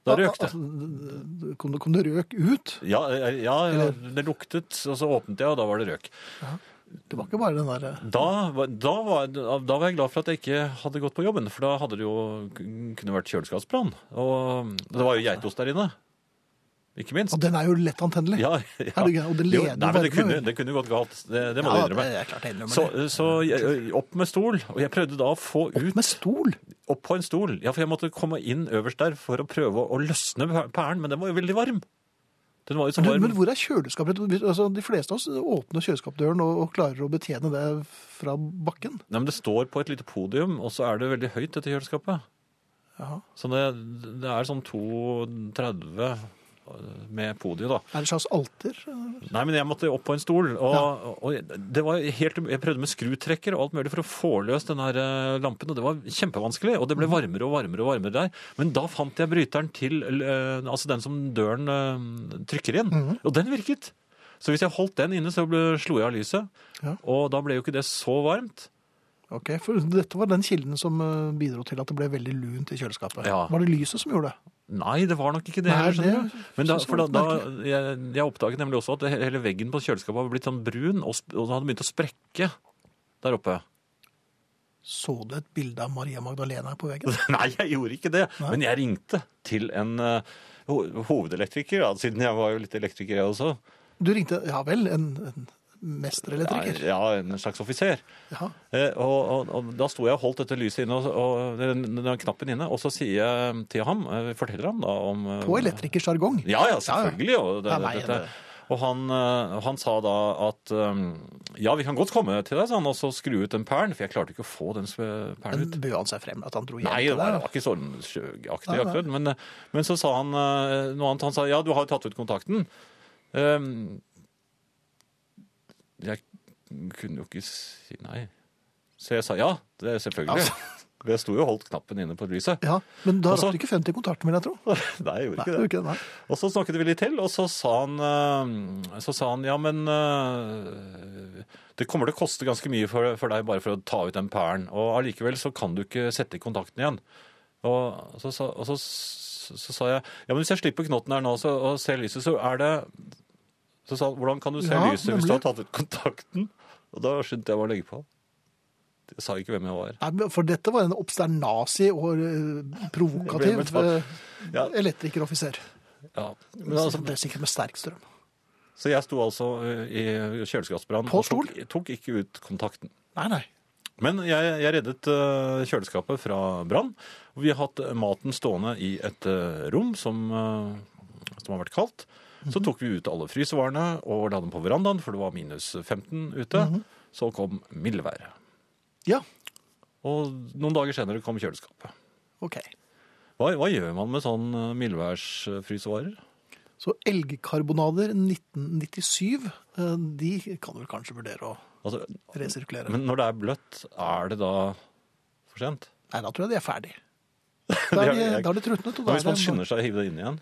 B: Da røk det.
A: Altså, kom, det- kom det røk ut?
B: Ja, eh, ja, det luktet, og så åpnet jeg, og da var det røk.
A: Det var ikke bare den der eh,
B: Da, var- da, var, da var jeg glad for at jeg ikke hadde gått på jobben, for da hadde det jo kun- kunne vært kjøleskapsbrann. Og det var jo geitost der inne. Ikke minst.
A: Og den er jo lett antennelig.
B: Ja, ja.
A: Herregud, og det
B: Jo,
A: leder
B: Nei, men det
A: varme,
B: kunne,
A: vel?
B: det kunne gått galt. Det, det må du innrømme.
A: er klart jeg innrømmer
B: Så,
A: det.
B: så jeg, opp med stol, og jeg prøvde da å få ut
A: Med stol?
B: Opp på en stol. Ja, for jeg måtte komme inn øverst der for å prøve å løsne pæren, men den var jo veldig varm. Den var jo så
A: Men,
B: varm.
A: men hvor er kjøleskapet? Altså, de fleste av oss åpner kjøleskapdøren og, og klarer å betjene det fra bakken.
B: Nei, men det står på et lite podium, og så er det veldig høyt, dette kjøleskapet.
A: Jaha.
B: Så det, det er sånn 32 med podiet, da.
A: Er det et slags alter?
B: Nei, men jeg måtte opp på en stol, og, og det var helt, um- jeg prøvde med skrutrekker og alt mulig for å få løs den her eh, lampen, og det var kjempevanskelig, og det
A: Mhm.
B: ble varmere og varmere og varmere der. Men da fant jeg bryteren til, eh, altså den som døren eh, trykker inn,
A: Mhm.
B: og den virket. Så hvis jeg holdt den inne, så ble, slo jeg av lyset,
A: Ja.
B: og da ble jo ikke det så varmt.
A: Ok, for Dette var den kilden som eh, bidro til at det ble veldig lunt i kjøleskapet.
B: Ja.
A: Var det lyset som gjorde det?
B: Nei, det var nok ikke det. sånn,
A: Nei,
B: heller, skjønner
A: det
B: du. Men da,
A: synes jeg
B: for da,
A: var
B: da, jeg, jeg oppdaget nemlig også at he- hele veggen på kjøleskapet hadde blitt sånn brun, og, sp- og den hadde begynt å sprekke der oppe.
A: Så du et bilde av Maria Magdalena på veggen?
B: Nei, jeg gjorde ikke det. Men jeg ringte til en eh, ho- hovedelektriker, da, siden jeg var jo litt elektriker jeg også.
A: Du ringte Ja vel, en, en mesterelektriker.
B: Ja, en slags offiser.
A: Ja.
B: Eh, og, og, og da sto jeg og holdt dette lyset inne, og, og den, den knappen inne, og så sier jeg til ham, eh, forteller ham da om eh,
A: På elektrikers jargong.
B: Ja, ja, selvfølgelig. Og, det,
D: Ja, nei,
B: dette. og han, eh, han sa da at eh, ja, vi kan godt komme til deg, sa han, og så skru ut den perlen, for jeg klarte ikke å få den sp- perlen
A: Men
B: ut.
A: bød han seg frem at han dro hjem
B: Nei, det
A: til
B: var,
A: deg?
B: det var ikke sånn sjøaktig
A: Nei, nei.
B: akkurat. Men, eh, men så sa han eh, noe annet. Han sa ja, du har jo tatt ut kontakten. Ehm, jeg kunne jo ikke si nei. Så jeg sa ja, det er selvfølgelig. Jeg sto jo og holdt knappen inne på lyset.
A: Ja, men da
B: Og så-
A: rakk du ikke frem til kontakten min, jeg tror.
B: Nei, jeg gjorde
A: Nei,
B: ikke
A: det
B: det.
A: var ikke det, nei.
B: Og så snakket vi litt til, og så sa han, eh, så sa han ja, men eh, det kommer til å koste ganske mye for, for deg bare for å ta ut den perlen, og allikevel så kan du ikke sette i kontakten igjen. Og så, sa- og så, så, så sa jeg, ja, men hvis jeg slipper knotten her nå så, og ser lyset, så er det Så sa han, hvordan kan du se
A: Ja,
B: lyset hvis du
A: nemlig.
B: har tatt ut kontakten? Og da skyndte jeg meg å legge på. Jeg sa ikke hvem jeg var.
A: Nei, men For dette var en obsternasi og eh,
B: Jeg ble
A: provokativ
B: betalt.
A: eh,
B: Ja.
A: elektrikeroffiser.
B: Ja. Men altså,
A: det er sikkert med sterk strøm.
B: så jeg sto altså eh, i kjøleskapsbrann
A: På
B: og tok, tok ikke ut kontakten.
A: Nei, nei.
B: Men jeg, jeg reddet eh, kjøleskapet fra brann. og Vi har hatt maten stående i et eh, rom som, eh, som har vært kaldt. Så tok vi ut alle frysevarene og la dem på verandaen, for det var minus 15 ute. Så kom mildværet.
A: Ja,
B: Og noen dager senere kom kjøleskapet.
A: ok.
B: Hva, hva gjør man med sånn eh, mildværsfrysevarer?
A: Så elgkarbonader 1997, eh, de kan vel kanskje vurdere å
B: Altså,
A: resirkulere.
B: men når det er bløtt, er det da for sent?
A: Nei, da tror jeg de er ferdig. Da er de,
B: Det er-
A: da er de trutnet. Og
B: Hva
A: da
B: hvis man
A: er de,
B: skynder seg å hive det inn igjen?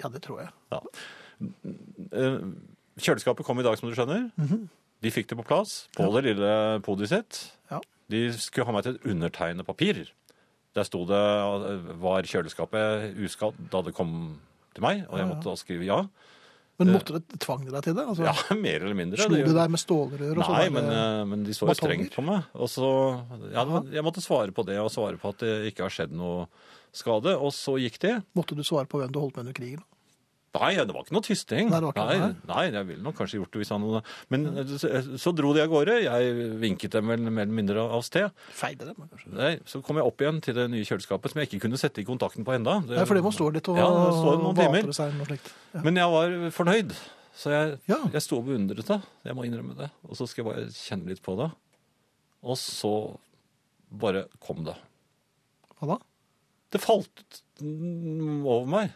A: ja, det tror jeg.
B: Ja. Eh, Kjøleskapet kom i dag, som du skjønner.
A: Mhm.
B: De fikk det på plass på det lille podiet sitt.
A: Ja.
B: De skulle ha meg til et undertegnende papir. Der sto det eh, var kjøleskapet uskadd da det kom til meg, og jeg måtte da skrive ja.
A: Men måtte det tvang de deg til det? Altså,
B: Eh. Ja, mer eller mindre.
A: Slo
B: Det-
A: du deg med stålrør og sånn?
B: Nei,
A: der?
B: men, eh, men de så jo
A: batonger?
B: strengt på meg. Og så, ja, det var- jeg måtte svare på det, og svare på at det ikke har skjedd noe skade. Og så gikk de.
A: Måtte du svare på hvem du holdt med under krigen?
B: Nei, det var ikke noe tysting.
A: Nei, det var ikke
B: nei,
A: det,
B: nei, jeg ville nok kanskje gjort det hvis han Men eh, så, så dro de av gårde. Jeg vinket dem vel mer eller mindre av sted.
A: Feide dem, kanskje.
B: Nei, så kom jeg opp igjen til det nye kjøleskapet som jeg ikke kunne sette i kontakten på enda.
A: Nei, for det må stå litt og
B: Ja, det står noen timer.
A: vatre seg eller noe slikt. Ja.
B: Men jeg var fornøyd. Så jeg,
A: Ja.
B: jeg sto og beundret det. Jeg må innrømme det. Og så skal jeg bare kjenne litt på det. Og så bare kom det.
A: Hva da?
B: Det falt mm, over meg.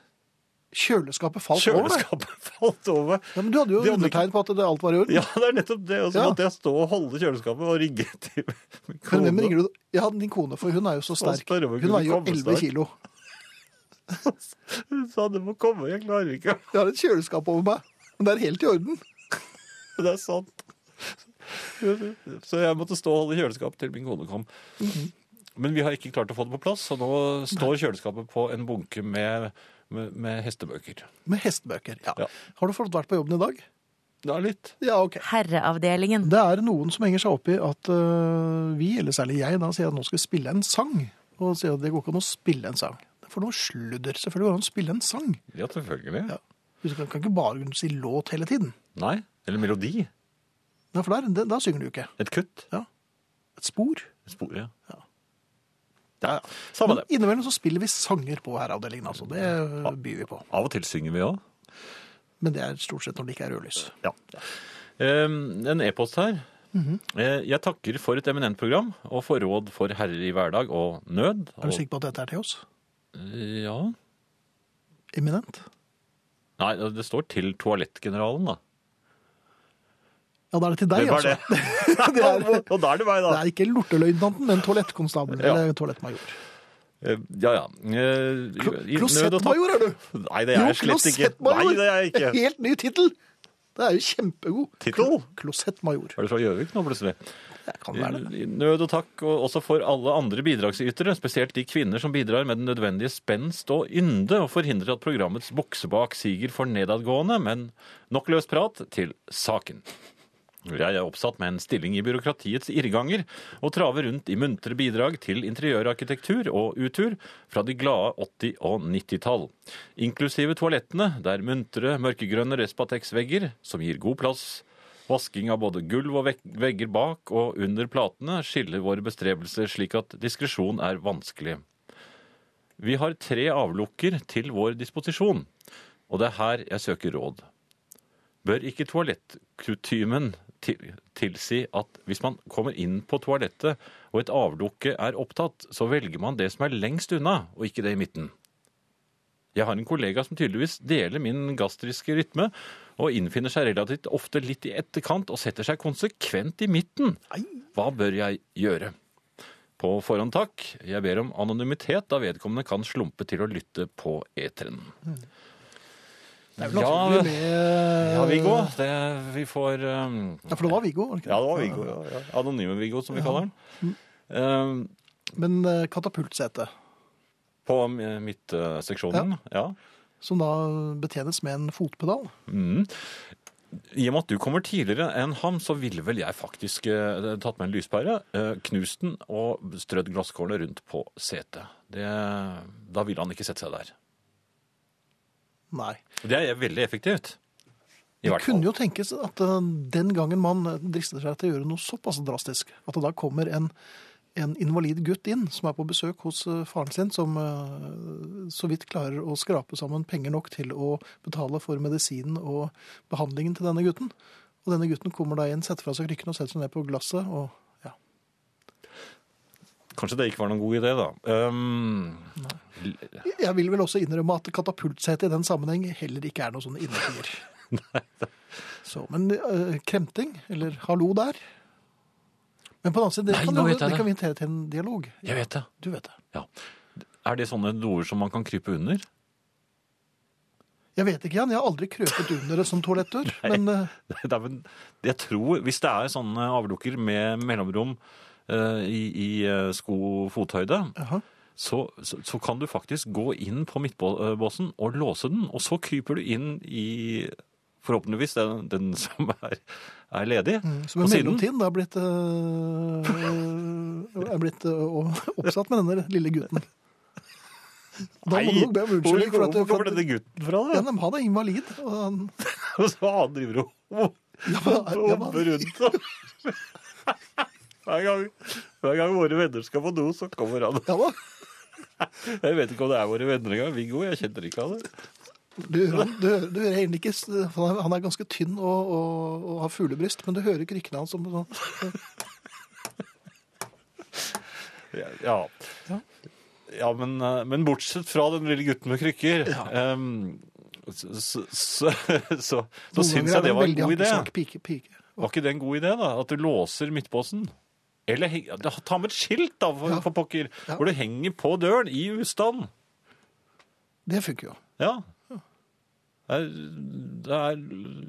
A: Kjøleskapet falt over deg?
B: Kjøleskapet falt over meg.
A: Ja, men du hadde jo
B: De hadde
A: undertegn på at det alt var i orden.
B: Ja, det er nettopp det. Og så
A: Ja.
B: måtte jeg stå og holde kjøleskapet og ringe til min
A: Men hvem
B: kone.
A: ringer du? da? Ja, din kone, for hun er jo så sterk.
B: spør om
A: Hun
B: hun kunne
A: veier jo
B: komme
A: 11
B: snart.
A: kilo.
B: Hun sa det må komme, jeg klarer ikke.
A: Jeg har et kjøleskap over meg, men det er helt i orden.
B: Det er sant. Så jeg måtte stå og holde kjøleskapet til min kone kom.
A: Mhm.
B: Men vi har ikke klart å få det på plass, så nå står kjøleskapet på en bunke med, med, med hestebøker.
A: Med hestebøker, ja.
B: Ja.
A: Har du fått vært på jobben i dag?
B: Ja, litt.
A: Ja, ok.
C: Herreavdelingen.
A: Det er noen som henger seg opp i at øh, vi, eller særlig jeg, da sier at nå skal jeg spille en sang. Og sier at det går ikke an å spille en sang. For noe sludder. Selvfølgelig går det an å spille en sang.
B: Ja, selvfølgelig.
A: Ja. Du kan, kan ikke bare si låt hele tiden.
B: Nei. Eller melodi.
A: Ja, for der, det- da synger du ikke.
B: Et kutt.
A: Ja. Et spor.
B: Spor, ja.
A: Ja, ja.
B: Samme
A: Men
B: det.
A: innimellom så spiller vi sanger på herreavdelingen, altså. Det øh, byr vi på.
B: Av og til synger vi òg.
A: Men det er stort sett når det ikke er rødlys.
B: Ehm, en e-post her.
A: Mhm.
B: Eh, Jeg takker for et eminent program og for råd for herrer i hverdag og nød.
A: Er du
B: og-
A: sikker på at dette er til oss?
B: Ja.
A: Eminent?
B: Nei, det står til toalettgeneralen, da.
A: Ja, da er det til deg,
B: Hvem er
A: altså. det, er,
B: Og da er det meg,
A: det er ikke lorteløytnanten, men toalettkonstabel
B: Ja.
A: eller toalettmajor.
B: Eh, Ja, ja. Eh, i- i nød og takk-
A: Klosettmajor er du!
B: Nei, det er jeg slett ikke.
A: klosettmajor.
B: Nei, det er jeg ikke.
A: Helt ny tittel! Det er jo kjempegod.
B: Tittel?
A: Klo- Klosettmajor.
B: Er du fra Gjøvik nå, plutselig?
A: Det kan være det.
B: I Nød og takk og også for alle andre bidragsytere, spesielt de kvinner som bidrar med den nødvendige spenst og ynde og forhindrer at programmets buksebak siger for nedadgående, men nok løs prat til saken. Jeg er oppsatt med en stilling i byråkratiets irrganger og traver rundt i muntre bidrag til interiørarkitektur og utur fra de glade 80- og 90-tall. Inklusive toalettene, der muntre, mørkegrønne Respatex-vegger, som gir god plass, vasking av både gulv og vek- vegger bak og under platene, skiller våre bestrebelser slik at diskresjon er vanskelig. Vi har tre avlukker til vår disposisjon, og det er her jeg søker råd. Bør ikke toalettkutymen til, tilsi at hvis man kommer inn på toalettet og et avlukke er opptatt, så velger man det som er lengst unna, og ikke det i midten? Jeg har en kollega som tydeligvis deler min gastriske rytme, og innfinner seg relativt ofte litt i etterkant og setter seg konsekvent i midten. Hva bør jeg gjøre? På forhånd takk. Jeg ber om anonymitet, da vedkommende kan slumpe til å lytte på eteren.
A: Mm. Det er vel naturlig med
B: Ja, Viggo. Eh, Det, vi får um,
A: Ja, for det var Viggo. var det ikke
B: Ja, det var Viggo. Ja, ja. Anonyme Viggo, som vi kaller den. Um,
A: Men eh, katapultsete,
B: på eh, midtseksjonen. Ja.
A: som da betjenes med en fotpedal.
B: Mm. I og med at du kommer tidligere enn ham, så ville vel jeg faktisk eh, tatt med en lyspære, eh, knust den og strødd glasskårene rundt på setet. Det, da ville han ikke sette seg der.
A: Nei.
B: Og Det er veldig effektivt. I
A: Det
B: hvert fall.
A: kunne jo tenkes at eh, den gangen man drister seg til å gjøre noe såpass drastisk, at det da kommer en, en invalid gutt inn som er på besøk hos eh, faren sin, som eh, så vidt klarer å skrape sammen penger nok til å betale for medisinen og behandlingen til denne gutten. Og denne gutten kommer da inn, setter fra seg krykken og setter seg ned på glasset. og ja.
B: Kanskje det ikke var noen god idé, da. Um,
A: Jeg vil vel også innrømme at katapultsete i den sammenheng heller ikke er noe sånn innertier. Så, men eh, kremting, eller hallo der Men på den annen side, det,
B: Nei,
A: kan,
B: nå
A: jo-
B: vet jeg
A: det
B: det.
A: kan vi invitere til en dialog.
B: jeg vet det.
A: Du vet det.
B: Ja. Er det sånne doer som man kan krype under?
A: Jeg vet ikke, Jan. Jeg har aldri krøpet under det som toalettdør. men eh,
B: Det er vel- jeg tror, Hvis det er sånne avlukker med mellomrom eh, i, i eh, sko-fothøyde,
A: jaha.
B: så, så, så kan du faktisk gå inn på midtbåsen og låse den, og så kryper du inn i forhåpentligvis den, den som er, er ledig
A: Mm, som i
B: på siden.
A: mellomtiden da er blitt, eh, er blitt eh, å- oppsatt med denne lille gutten. Da må du nok be om
B: hvor
A: unnskyldning. for at-
B: hvor
A: for
B: kommer
A: at-
B: denne gutten fra?
A: Ja,
B: da?
A: men Han er invalid. og han-
B: Og så han driver og
A: Ja, men-
B: og
A: ja, men-
B: hopper rundt. og- Hver gang, hver gang våre venner skal på do, så kommer han.
A: Ja da.
B: Jeg vet ikke om det er våre venner engang. Viggo, jeg kjenner ikke han.
A: Du, hører- du, hører- du hører egentlig ikke s- Han er, han er ganske tynn og, og, og har fuglebryst, men du hører krykkene hans som sånn
B: Ja. ja men, eh, men bortsett fra den lille gutten med krykker, ehm, em, så, så, så, så, så syns jeg det var en god idé.
A: Pike, pike.
B: Var ikke det en god idé, da? At du låser midtbåsen? Eller heng- ja, ta med et skilt, da, for,
A: Ja.
B: for pokker,
A: Ja.
B: hvor du henger på døren i ustand.
A: Det funker jo.
B: Ja. Det er, det er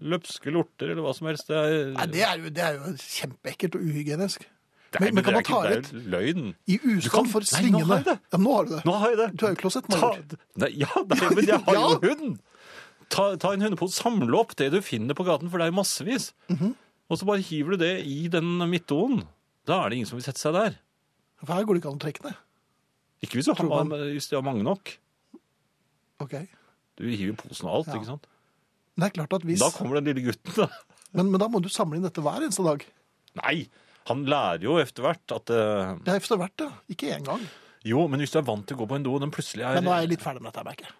B: løpske lorter eller hva som helst. Det er,
A: Nei, det er jo, det er jo kjempeekkelt og uhygienisk.
B: Nei,
A: Men, men kan
B: det er
A: man ta
B: ikke-
A: litt
B: Det er løgn.
A: i ustand
B: kan-
A: for
B: Nei, nå
A: svingende
B: har jeg det.
A: Ja, nå har du det.
B: Nå har jeg det.
A: Du er jo klosettmajor.
B: Ta, nei, ja, nei, men jeg har
A: Ja.
B: jo hund! Ta, ta en hundepose, samle opp det du finner på gaten, for det er jo massevis.
A: Mhm.
B: Og så bare hiver du det i den midtdoen. Da er det ingen som vil sette seg der.
A: For her går det ikke an å trekke ned.
B: Ikke hvis du har,
A: Tror man-
B: hvis du har mange nok.
A: Ok.
B: Du hiver jo posen og alt,
A: Ja.
B: ikke sant?
A: Men Det er klart at hvis,
B: Da kommer den lille gutten, da.
A: men, men da må du samle inn dette hver eneste dag.
B: Nei, han lærer jo etter hvert at eh,
A: Det er efter hvert, ja. Ikke én gang.
B: Jo, men hvis du er vant til å gå på en do, og den plutselig er
A: Men nå er jeg litt ferdig med dette, merker jeg.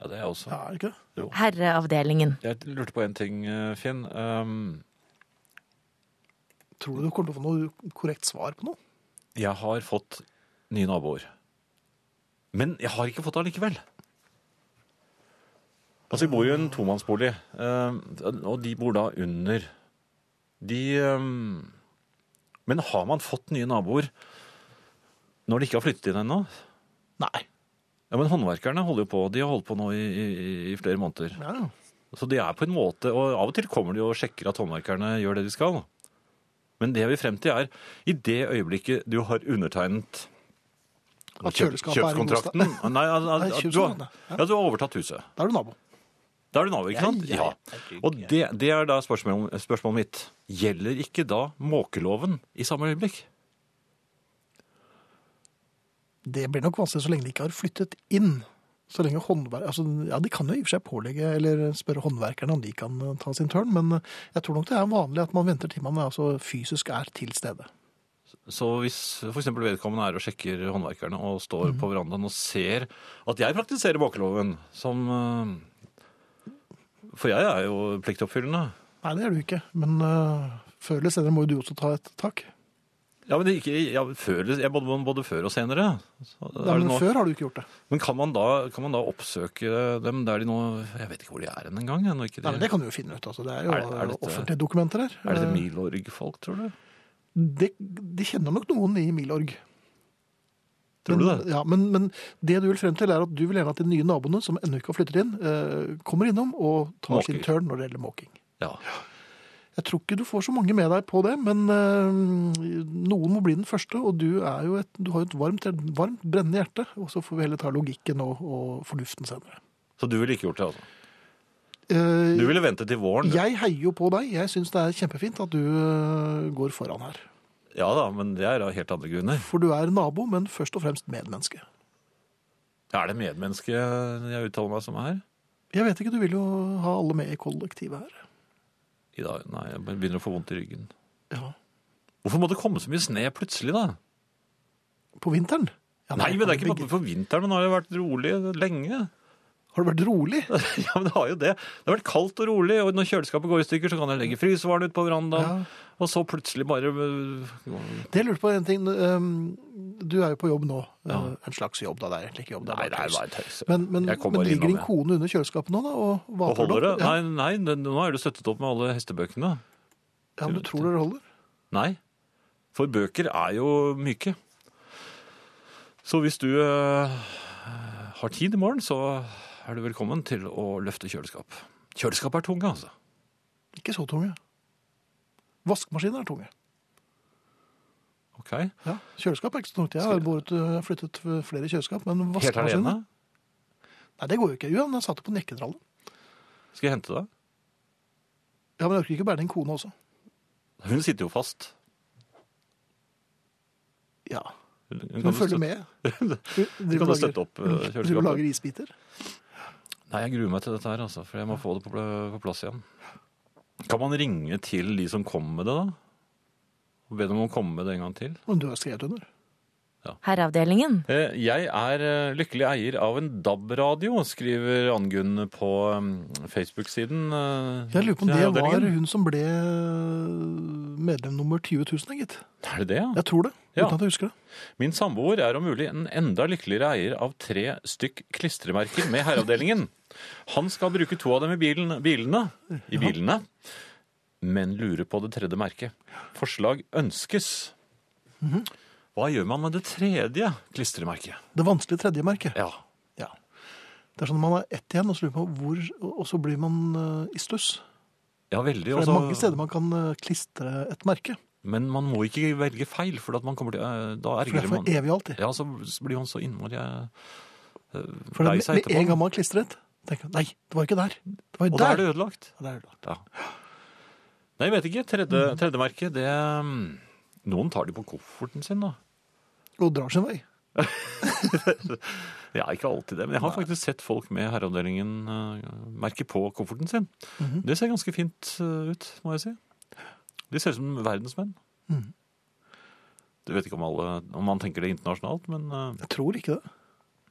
B: Ja, det er jeg også.
A: Ja, er det ikke det?
C: Herreavdelingen.
B: Jeg lurte på en ting, eh, Finn. Um,
A: Tror du du kommer til å få noe korrekt svar på noe?
B: jeg har fått nye naboer. Men jeg har ikke fått det allikevel. Altså, jeg bor jo i en tomannsbolig, eh, og de bor da under. De um, Men har man fått nye naboer når de ikke har flyttet inn ennå?
A: Nei.
B: Ja, men håndverkerne holder jo på. De har holdt på nå i, i, i flere måneder.
A: Ja, ja.
B: Så de er på en måte, og av og til kommer de og sjekker at håndverkerne gjør det de skal. Men det vi frem til er, i det øyeblikket du har undertegnet
A: At kjøleskapet er i
B: kjøpskontrakten Nei, at, at,
A: Nei,
B: at du, har,
A: kjøpskontrakten, ja.
B: ja, du har overtatt huset.
A: Da er du nabo.
B: Da er du nabo, ikke sant?
D: Ja, ja, ja.
B: Og det, det er da spørsmålet, spørsmålet mitt. Gjelder ikke da måkeloven i samme øyeblikk?
A: Det blir nok vanskelig så lenge de ikke har flyttet inn. Så lenge håndver... Altså, ja, De kan jo i og for seg pålegge eller spørre håndverkerne om de kan eh, ta sin tørn, men eh, jeg tror nok det er vanlig at man venter til man er, altså, fysisk er til stede.
B: Så hvis f.eks. vedkommende er og sjekker håndverkerne og står
A: Mhm.
B: på verandaen og ser at jeg praktiserer måkeloven som eh, For jeg er jo pliktoppfyllende.
A: Nei, det er du ikke, men eh, før eller senere må jo du også ta et tak.
B: Ja, men det er ikke, ja, før, jeg, både, både før og senere. Så
A: Ja,
B: er det
A: men
B: nå-
A: før har du ikke gjort det.
B: Men kan man, da, kan man da oppsøke dem der de nå Jeg vet ikke hvor de er hen engang. jeg, når ikke de-
A: Nei, men Det kan du jo finne ut. altså. Det er jo
B: Er det- er dette-
A: offentlige dokumenter her. Eh,
B: Er dette Milorg-folk, tror du?
A: det, de kjenner nok noen i Milorg.
B: Tror du
A: men,
B: det?
A: Ja, men, men det du vil frem til er at du vil gjerne at de nye naboene som ennå ikke har flyttet inn, eh, kommer innom og tar
B: Måker.
A: sin tørn når det gjelder måking.
B: Ja.
A: Jeg tror ikke du får så mange med deg på det, men eh, noen må bli den første, og du, er jo et, du har jo et varmt, varmt, brennende hjerte, og så får vi heller ta logikken og, og fornuften senere.
B: Så du ville ikke gjort det, altså?
A: Eh,
B: Du ville vente til våren? du.
A: jeg heier jo på deg. Jeg syns det er kjempefint at du eh, går foran her.
B: Ja da, men det er av helt andre grunner.
A: For du er nabo, men først og fremst medmenneske.
B: Er det medmenneske jeg uttaler meg som her?
A: Jeg vet ikke, du vil jo ha alle med i kollektivet her.
B: I dag? Nei, jeg begynner å få vondt i ryggen.
A: Ja.
B: Hvorfor må det komme så mye sne plutselig, da?
A: På vinteren? Ja,
B: Nei, men det er ikke
A: begge-
B: bare for vinteren. Nå har det vært rolig lenge.
A: Har det vært rolig?
B: Ja, men det har jo det. Det har vært kaldt og rolig, og når kjøleskapet går i stykker, så kan jeg legge frysevaren ut på verandaen,
A: Ja.
B: og så plutselig bare øh, Nei,
A: Det jeg lurte på en ting. um, Du er jo på jobb nå.
B: Ja.
A: Uh, En slags jobb, da. Det er egentlig ikke jobb. Det er
B: det er
A: tøys.
B: bare tøys.
A: Men, men,
B: Jeg kom
A: men
B: bare
A: ligger
B: innom,
A: din
B: jeg.
A: kone under kjøleskapet nå, da? Og,
B: Og
A: vater
B: holder det?
A: opp? Ja.
B: Nei, nei, det- nå er det støttet opp med alle hestebøkene.
A: ja, men Du tror dere holder?
B: Nei. For bøker er jo myke. Så hvis du eh, har tid i morgen, så er du velkommen til å løfte kjøleskap. Kjøleskap er tunge, altså.
A: Ikke så tunge. Vaskemaskiner er tunge.
B: Ok.
A: Ja, Kjøleskap er ikke så tungt. Jeg har båret, uh, flyttet flere kjøleskap, men
B: Helt
A: vaskemaskiner
B: alene?
A: Nei, det går jo ikke. Jo, men jeg satte på nekketralle.
B: Skal jeg hente deg?
A: Ja, men jeg orker ikke å bære din kone også.
B: Hun sitter jo fast.
A: Ja,
B: Hun, hun
A: Hun
B: jo
A: følger
B: støtte-
A: med.
B: Hun kan jo støtte opp eh,
A: Du lager Mm,
B: kjøleskapet.
A: isbiter?
B: Nei, jeg gruer meg til dette her, altså, for jeg må få det på, pl- på plass igjen. Kan man ringe til de som kom med det, da? Og be dem om å komme med det en gang til?
A: Men du har skrevet under.
C: Herreavdelingen.
B: Eh, Jeg er eh, lykkelig eier av en DAB-radio, skriver Angunn på eh, Facebook-siden. eh,
A: Jeg lurer på om
B: til
A: det var
B: herreavdelingen.
A: hun som ble eh, medlem nummer 20 000, gitt.
B: Er det det, ja?
A: Jeg tror det,
B: Ja.
A: uten at jeg husker det.
B: Min samboer er om mulig en enda lykkeligere eier av tre stykk klistremerker med herreavdelingen. Han skal bruke to av dem i bilen, bilene, i bilene, men lurer på det tredje merket. Forslag ønskes.
A: Mhm.
B: Hva gjør man med det tredje klistremerket?
A: Det vanskelige tredje merket.
B: Ja,
A: Ja. Det er sånn at man har ett igjen, og så lurer man på hvor, og så blir man eh, i stuss.
B: ja veldig.
A: For det
B: også-
A: er mange steder man kan eh, klistre et merke.
B: Men man må ikke velge feil, for at man kommer til, eh, da
A: For det
B: ergrer
A: er
B: man.
A: for evig og alltid.
B: Ja, så blir man så innmari eh,
A: For
B: lei
A: det,
B: seg
A: med, med
B: etterpå.
A: en gang man klistrer et, tenker man nei, det var ikke der. Det var
B: Og
A: jo
B: da
A: der.
B: er det ødelagt.
A: Ja, det er det.
B: Ja. Nei, jeg vet ikke. Tredje, tredje merke, det mm, Noen tar de på kofferten sin, da.
A: Og drar sin vei.
B: Ja, ikke alltid det, men jeg har faktisk sett folk med herreavdelingen eh, merke på kofferten sin. Det ser ganske fint eh, ut, må jeg si. De ser ut som verdensmenn. Mm.
A: Mhm.
B: Du vet ikke om, alle, om man tenker det internasjonalt, men eh,
A: Jeg tror ikke det.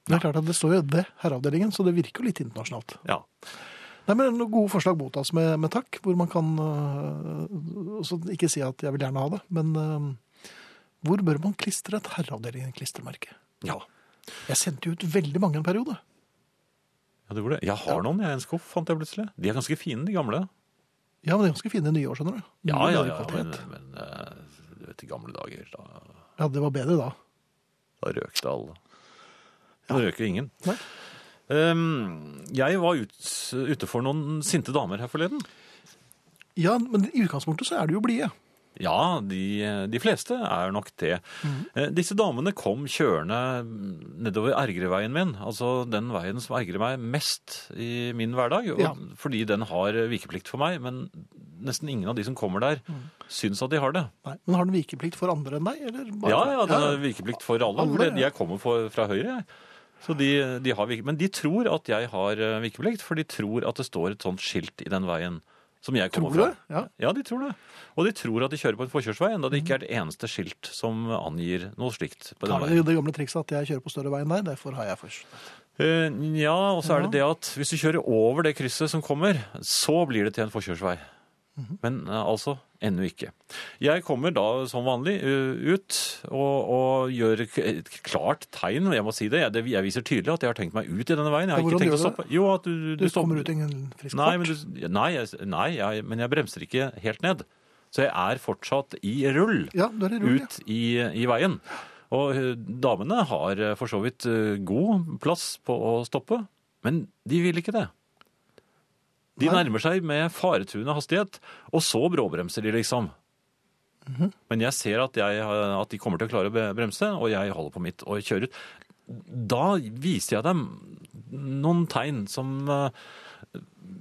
A: Det er klart at det står jo det, herreavdelingen, så det virker jo litt internasjonalt.
B: ja.
A: Nei, men noen Gode forslag mottas med, med takk, hvor man kan øh, også Ikke si at jeg vil gjerne ha det, men øh, hvor bør man klistre et herreavdelingen-klistremerke?
B: ja.
A: Jeg sendte jo ut veldig mange en periode.
B: Ja, Mm, det gjorde det. Jeg har noen jeg, i en skuff, fant jeg plutselig. De er ganske fine, de gamle.
A: Ja, men det er ganske fine nye år, skjønner du. Mye
B: Ja, ja,
A: bedre
B: ja, men,
A: kvalitet.
B: men eh, du vet, i gamle dager, da,
A: ja, det var bedre da.
B: da røkte alle. Nå røker ingen.
A: Nei.
B: Ehm, jeg var ut, ute for noen sinte damer her forleden.
A: Ja, men i utgangspunktet så er du jo blide.
B: Ja, de, de fleste er nok det.
A: Mhm.
B: Eh, Disse damene kom kjørende nedover Ergreveien min, altså den veien som ergrer meg mest i min hverdag, og,
A: Ja.
B: fordi den har vikeplikt for meg, men nesten ingen av de som kommer der,
A: Mhm.
B: syns at de har det.
A: Nei. Men har den vikeplikt for andre enn deg? Eller bare-
B: Ja, ja, det er vikeplikt for alle.
A: Alle,
B: for det-
A: ja.
B: de jeg kommer for, fra Høyre, jeg. Så de, de har vike, men de tror at jeg har eh, vikeplikt, for de tror at det står et sånt skilt i den veien som jeg
A: Tror
B: kommer
A: du
B: fra.
A: det? Ja.
B: Ja, de tror det. Og de tror at de kjører på en forkjørsvei, enda det ikke er et eneste skilt som angir noe slikt på den
A: Tar det,
B: veien.
A: det gamle trikset at jeg kjører på større vei enn deg, derfor har jeg først.
B: Eh, Ja, og så er det det at hvis du kjører over det krysset som kommer, så blir det til en forkjørsvei.
A: Mhm.
B: Men eh, altså, ennå ikke. Jeg kommer da som vanlig eh, ut og, og gjør k- et klart tegn, og jeg må si det. Jeg, det, jeg viser tydelig at jeg har tenkt meg ut i denne veien. Jeg har
A: Ja,
B: ikke
A: hvordan
B: tenkt å
A: gjør du
B: stoppe. Jo, at du,
A: Du,
B: stopper-
A: kommer ut i en frisk
B: Nei, men,
A: fart.
B: du, nei, jeg, nei jeg, men jeg bremser ikke helt ned. Så jeg er fortsatt i rull
A: Ja, du er i rull,
B: ut i, i veien. Og eh, damene har eh, for så vidt eh, god plass på å stoppe, men de vil ikke det. De
A: Nei.
B: nærmer seg med faretruende hastighet, og så bråbremser de, liksom.
A: Mhm.
B: Men jeg ser at, jeg, eh, at de kommer til å klare å be- bremse, og jeg holder på mitt og kjører ut. Da viser jeg dem noen tegn som eh,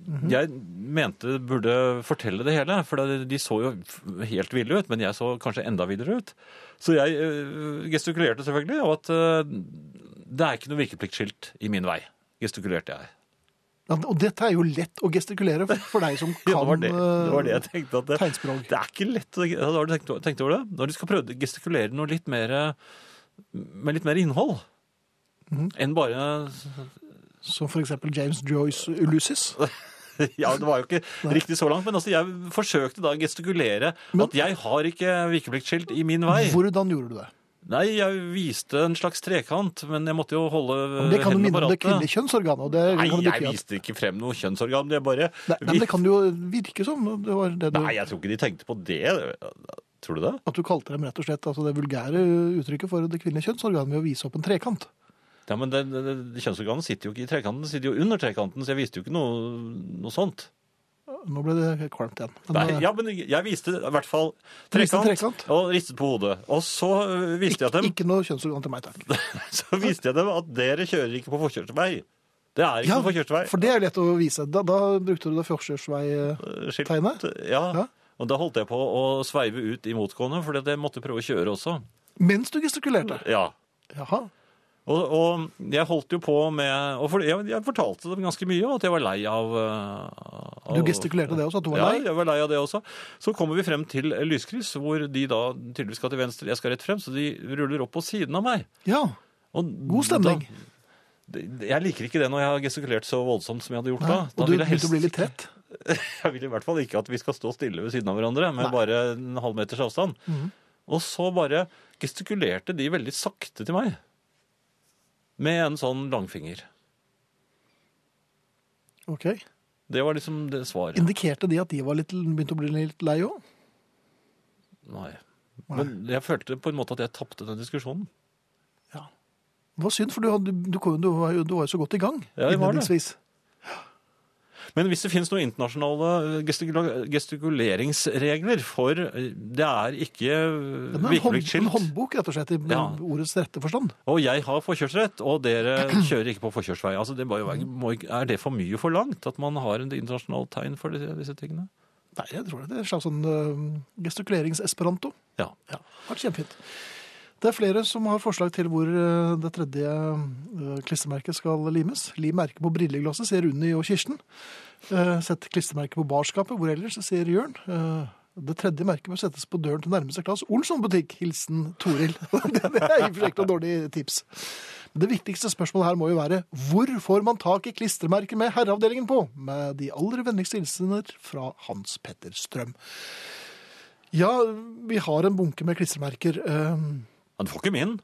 A: Mhm.
B: jeg mente burde fortelle det hele, for det- de så jo f- helt ville ut, men jeg så kanskje enda villere ut. Så jeg øh, gestikulerte selvfølgelig, og at øh, det er ikke noe virkepliktskilt i min vei, gestikulerte jeg.
A: Ja, og dette er jo lett å gestikulere for- for deg som kan
B: Ja, det, var det, det var det jeg
A: eh,
B: tenkte. At det,
A: tegnspråk.
B: det er ikke lett å ja, Har du tenkt, tenkt over det? Når du skal prøve å gestikulere noe litt mer eh, med litt mer innhold
A: Mhm.
B: enn bare
A: Som for eksempel James Joyce Ulysses.
B: Ja, det var jo ikke riktig så langt, men altså, jeg forsøkte da å gestikulere
A: Men-
B: at jeg har ikke vikepliktskilt i min vei.
A: Hvordan gjorde du det?
B: Nei, jeg viste en slags trekant, men jeg måtte jo holde
A: Men det kan jo
B: hendene
A: minne
B: på
A: om det
B: rattet.
A: kvinnelige kjønnsorganet. Og det
B: Eh, Nei,
A: kan det bety
B: jeg
A: at-
B: viste ikke frem noe kjønnsorgan. Jeg bare
A: Nei, nei, men det kan det jo virke som. Det var det du,
B: Nei, jeg tror ikke de tenkte på det. Tror du det?
A: At du kalte dem rett og slett altså det vulgære uttrykket for det kvinnelige kjønnsorganet ved å vise opp en trekant.
B: Ja, men det, det, det, Kjønnsorganet sitter jo ikke i trekanten, det sitter jo under trekanten, så jeg viste jo ikke noe, noe sånt.
A: Nå ble det kvalmt igjen. Men,
B: Nei,
A: eh,
B: ja, men jeg viste i hvert fall
A: Du viste
B: trekant,
A: trekant?
B: og ristet på hodet. Og så øh, viste jeg dem,
A: Ikke noe kjønnsorgan til meg, takk.
B: så viste jeg dem at dere kjører ikke på forkjørsvei. Det er ikke
A: Ja,
B: noen forkjørsvei.
A: for det er jo lett å vise. Da, da brukte du det eh, forkjørsvei...
B: skilt.
A: Tegnet?
B: Ja.
A: Ja.
B: Og da holdt jeg på å sveive ut i motgående, fordi at jeg måtte prøve å kjøre også.
A: Mens du gestikulerte.
B: Ja.
A: Jaha.
B: Og, og jeg holdt jo på med og for, jeg, jeg fortalte dem ganske mye, og at jeg var lei av, eh,
A: Du
B: av-
A: gestikulerte det også, at du var
B: Ja,
A: lei.
B: jeg var lei av det også. Så kommer vi frem til lyskryss, hvor de da tydeligvis skal til venstre, jeg skal rett frem, så de ruller opp på siden av meg.
A: Ja.
B: Og
A: God stemning.
B: Da, jeg liker ikke det når jeg har gestikulert så voldsomt som jeg hadde gjort da.
A: Nei,
B: da
A: og du
B: vil jeg,
A: begynte å bli litt
B: helst,
A: trett.
B: jeg vil i hvert fall ikke at vi skal stå stille ved siden av hverandre med
A: Nei. Mhm.
B: bare en halv meters avstand. Og så bare gestikulerte de veldig sakte til meg. Med en sånn langfinger.
A: Ok.
B: Det var liksom det svaret.
A: Indikerte de at de var litt, begynte å bli litt lei òg?
B: Nei. Men jeg følte på en måte at jeg tapte den diskusjonen.
A: Ja. Det var synd, for du, hadde, du, kom, du, var, jo- du var jo så godt i gang
B: Ja, jeg var det.
A: innledningsvis.
B: Men hvis det finnes noen internasjonale gestikula- gestikuleringsregler for eh, Det er
A: Det
B: ikke
A: er en, hånd, en
B: virkelighetsskilt.
A: håndbok, rett og slett, i
B: Ja.
A: ordets rette forstand.
B: Og jeg har forkjørsrett, og dere kjører ikke på forkjørsvei. Altså, det må jo være, må, ikke- er det for mye forlangt at man har en internasjonalt tegn for disse, disse tingene?
A: Nei, jeg tror det er en slags sånn eh, gestikulerings-esperanto.
B: Ja.
A: Ja, det har vært kjempefint. Det er flere som har forslag til hvor eh, det tredje eh, klistremerket skal limes. Lim merket på brilleglasset, sier Unni og Kirsten. Eh, Sett klistremerket på barskapet, hvor ellers, sier Jørn. Eh, Det tredje merket bør settes på døren til nærmeste Claes Olsson butikk. Hilsen Toril. det er i og for seg ikke noe dårlig tips. Men det viktigste spørsmålet her må jo være hvor får man tak i klistremerket med herreavdelingen på? Med de aller vennligste hilsener fra Hans Petter Strøm. Ja, vi har en bunke med klistremerker. Eh,
B: Men du får ikke min.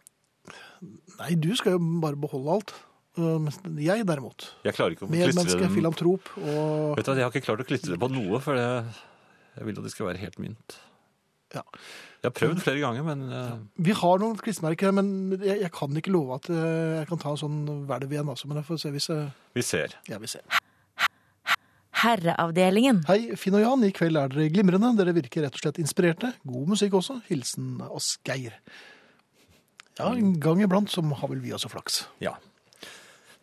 A: Nei, du skal jo bare beholde alt. Eh, mens Jeg derimot.
B: Jeg klarer ikke å klistre
A: Medmenneske,
B: den.
A: filantrop og
B: Vet du, hva, jeg har ikke klart å klistre det på noe, for jeg, jeg vil at det skal være helt mint.
A: Ja.
B: Jeg har prøvd flere ganger, men eh,
A: Vi har noen klistremerker, her, men jeg, jeg kan ikke love at eh, jeg kan ta en sånn hvelv igjen, altså. Men jeg får se hvis jeg
B: vi ser.
A: Jeg vil se.
C: Herreavdelingen.
A: Hei, Finn og Jan, i kveld er dere glimrende. Dere virker rett og slett inspirerte. God musikk også. Hilsen Asgeir. Ja, en gang iblant så har vel vi også flaks.
B: Ja.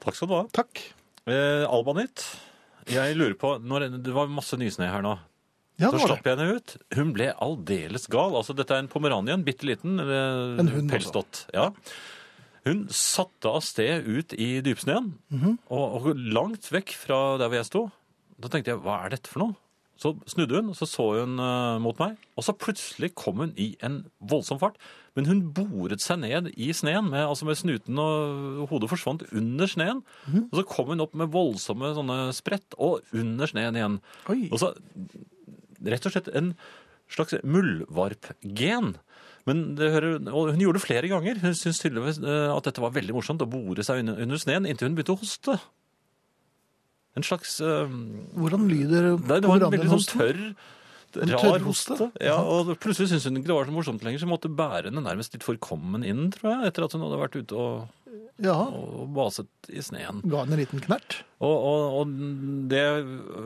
B: Takk skal du ha.
A: Takk.
B: Eh, Albanit, jeg lurer på når, Det var masse nysnø her nå.
A: Ja,
B: så
A: det var
B: slapp
A: det.
B: jeg henne ut. Hun ble aldeles gal. Altså, dette er en pomeranien, bitte liten. eh,
A: En hund, altså.
B: pelsdott. Ja. Hun satte av sted ut i dypsnøen,
A: Mhm.
B: og, og langt vekk fra der hvor jeg sto. Da tenkte jeg, hva er dette for noe? Så snudde hun, så så hun eh, mot meg, og så plutselig kom hun i en voldsom fart. Men hun boret seg ned i sneen, med, altså med snuten og hodet forsvant under sneen.
A: Mhm.
B: Og så kom hun opp med voldsomme sånne sprett, og under sneen igjen.
A: Oi.
B: Og så rett og slett en slags muldvarpgen. Men det hører, og hun gjorde det flere ganger. Hun syntes tydeligvis eh, at dette var veldig morsomt å bore seg under, under sneen inntil hun begynte å hoste. En slags eh,
A: Hvordan lyder
B: Nei, det var en veldig sånn
A: pomeranianhosten?
B: tørr,
A: En
B: rar
A: tørr hoste?
B: hoste. Ja, og plutselig syntes hun ikke det var så morsomt lenger, så hun måtte bære henne nærmest litt forkommen inn, tror jeg, etter at hun hadde vært ute og,
A: Ja,
B: og baset i sneen.
A: ga henne en liten knert.
B: Og, og, og det,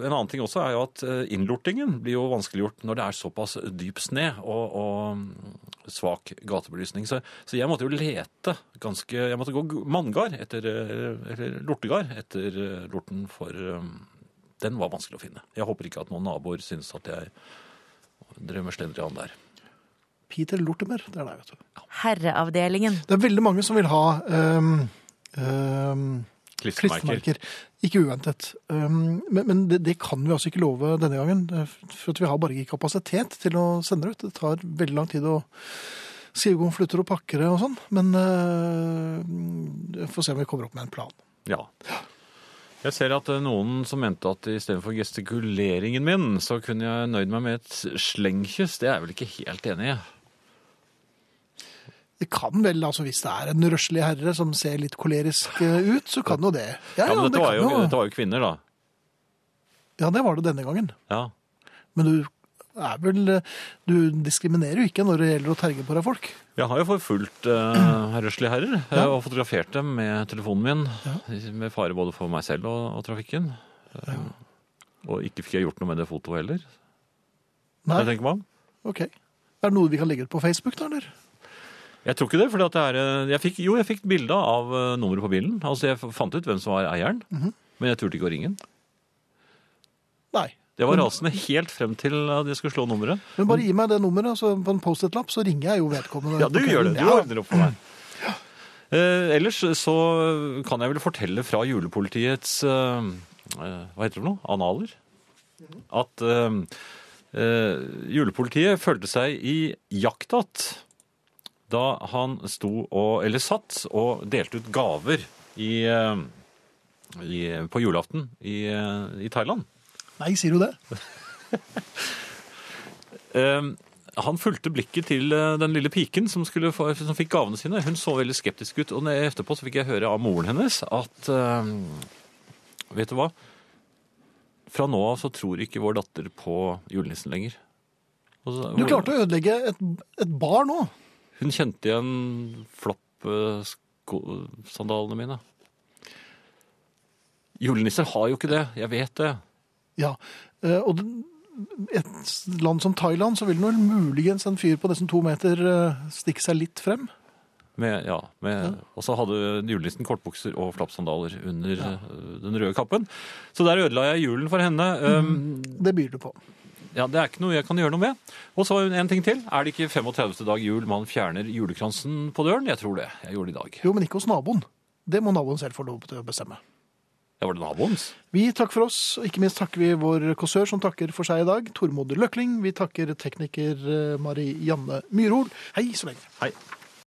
B: en annen ting også er jo at eh, innlortingen blir jo vanskeliggjort når det er såpass dyp sne og, og mm, svak gatebelysning. Så, så jeg måtte jo lete ganske Jeg måtte gå manngard etter eh, Eller lortegard etter eh, lorten, for eh, den var vanskelig å finne. Jeg håper ikke at noen naboer syns at jeg drev med slendrian der.
A: Peter Lortimer, det er deg, vet du.
C: Herreavdelingen.
A: Det er veldig mange som vil ha ehm, ehm, klistremerker. Ikke uventet. Ehm, men men det, det kan vi altså ikke love denne gangen. eh, For at vi har bare ikke kapasitet til å sende det ut. Det tar veldig lang tid å skrive konvolutter og pakke det og sånn. Men eh, vi får se om vi kommer opp med en plan.
B: Ja. Jeg ser at eh, noen som mente at istedenfor gestikuleringen min, så kunne jeg nøyd meg med et slengkyss. Det er jeg vel ikke helt enig i.
A: Det kan vel, altså Hvis det er en røslig herre som ser litt kolerisk eh, ut, så kan jo det. Ja,
B: Ja, men
A: det
B: dette var,
A: kan
B: jo, dette var jo kvinner, da.
A: ja, det var det denne gangen.
B: Ja.
A: Men du er vel Du diskriminerer jo ikke når det gjelder å terge på deg folk.
B: Jeg har jo forfulgt uh, røslige herrer eh,
A: Ja.
B: og fotografert dem med telefonen min. Med fare både for meg selv og, og trafikken. Eh, Og ikke fikk jeg gjort noe med det fotoet heller.
A: Nei,
B: Jeg, tenker meg om.
A: ok. Er det noe vi kan legge ut på Facebook, da, eller?
B: jeg tror ikke det. fordi at det er, eh, jeg fikk, jo, jeg fikk bilde av eh, nummeret på bilen. Altså, Jeg fant ut hvem som var eieren,
A: Mhm.
B: men jeg turte ikke å ringe den.
A: Nei.
B: Jeg var rasende helt frem til at jeg skulle slå nummeret.
A: Men bare gi meg det nummeret altså, på en Post-It-lapp, så ringer jeg jo vedkommende.
B: Ja, du
A: på
B: gjør det.
A: kvelden.
B: Du ordner opp for meg. Eh, ellers så kan jeg vel fortelle fra julepolitiets eh, eh, Hva heter det for noe? Analer? At eh, eh, julepolitiet følte seg i jaktatt da han sto og Eller satt og delte ut gaver i, eh, i, på julaften i, eh, i Thailand.
A: Ja. Nei, sier du det?
B: Eh, han fulgte blikket til eh, den lille piken som, skulle få, som fikk gavene sine. Hun så veldig skeptisk ut, og når jeg- etterpå så fikk jeg høre av moren hennes at eh, Vet du hva? Fra nå av så tror ikke vår datter på julenissen lenger. Og så-
A: Du klarte å ødelegge et, et bar nå.
B: Hun kjente igjen flopp-sandalene mine. Julenisser har jo ikke det. Jeg vet det.
A: Ja. eh, Og det- et land som Thailand, så vil vel muligens en fyr på nesten to meter eh, stikke seg litt frem.
B: Med, ja, med, Og så hadde julenissen kortbukser og flappsandaler under eh, den røde kappen. Så der ødela jeg julen for henne. Um,
A: Det byr du på.
B: ja, Det er ikke noe jeg kan gjøre noe med. Og så en ting til. Er det ikke 35. dag jul man fjerner julekransen på døren? Jeg tror det. Jeg gjorde det i dag.
A: Jo, men ikke hos naboen. Det må naboen selv få lov til å bestemme.
B: Ja, var det naboens?
A: Vi takker for oss, og ikke minst takker vi vår kåsør som takker for seg i dag, Tormod Løkling. Vi takker tekniker eh, Marianne Myrhol. Hei så lenge.
B: Hei.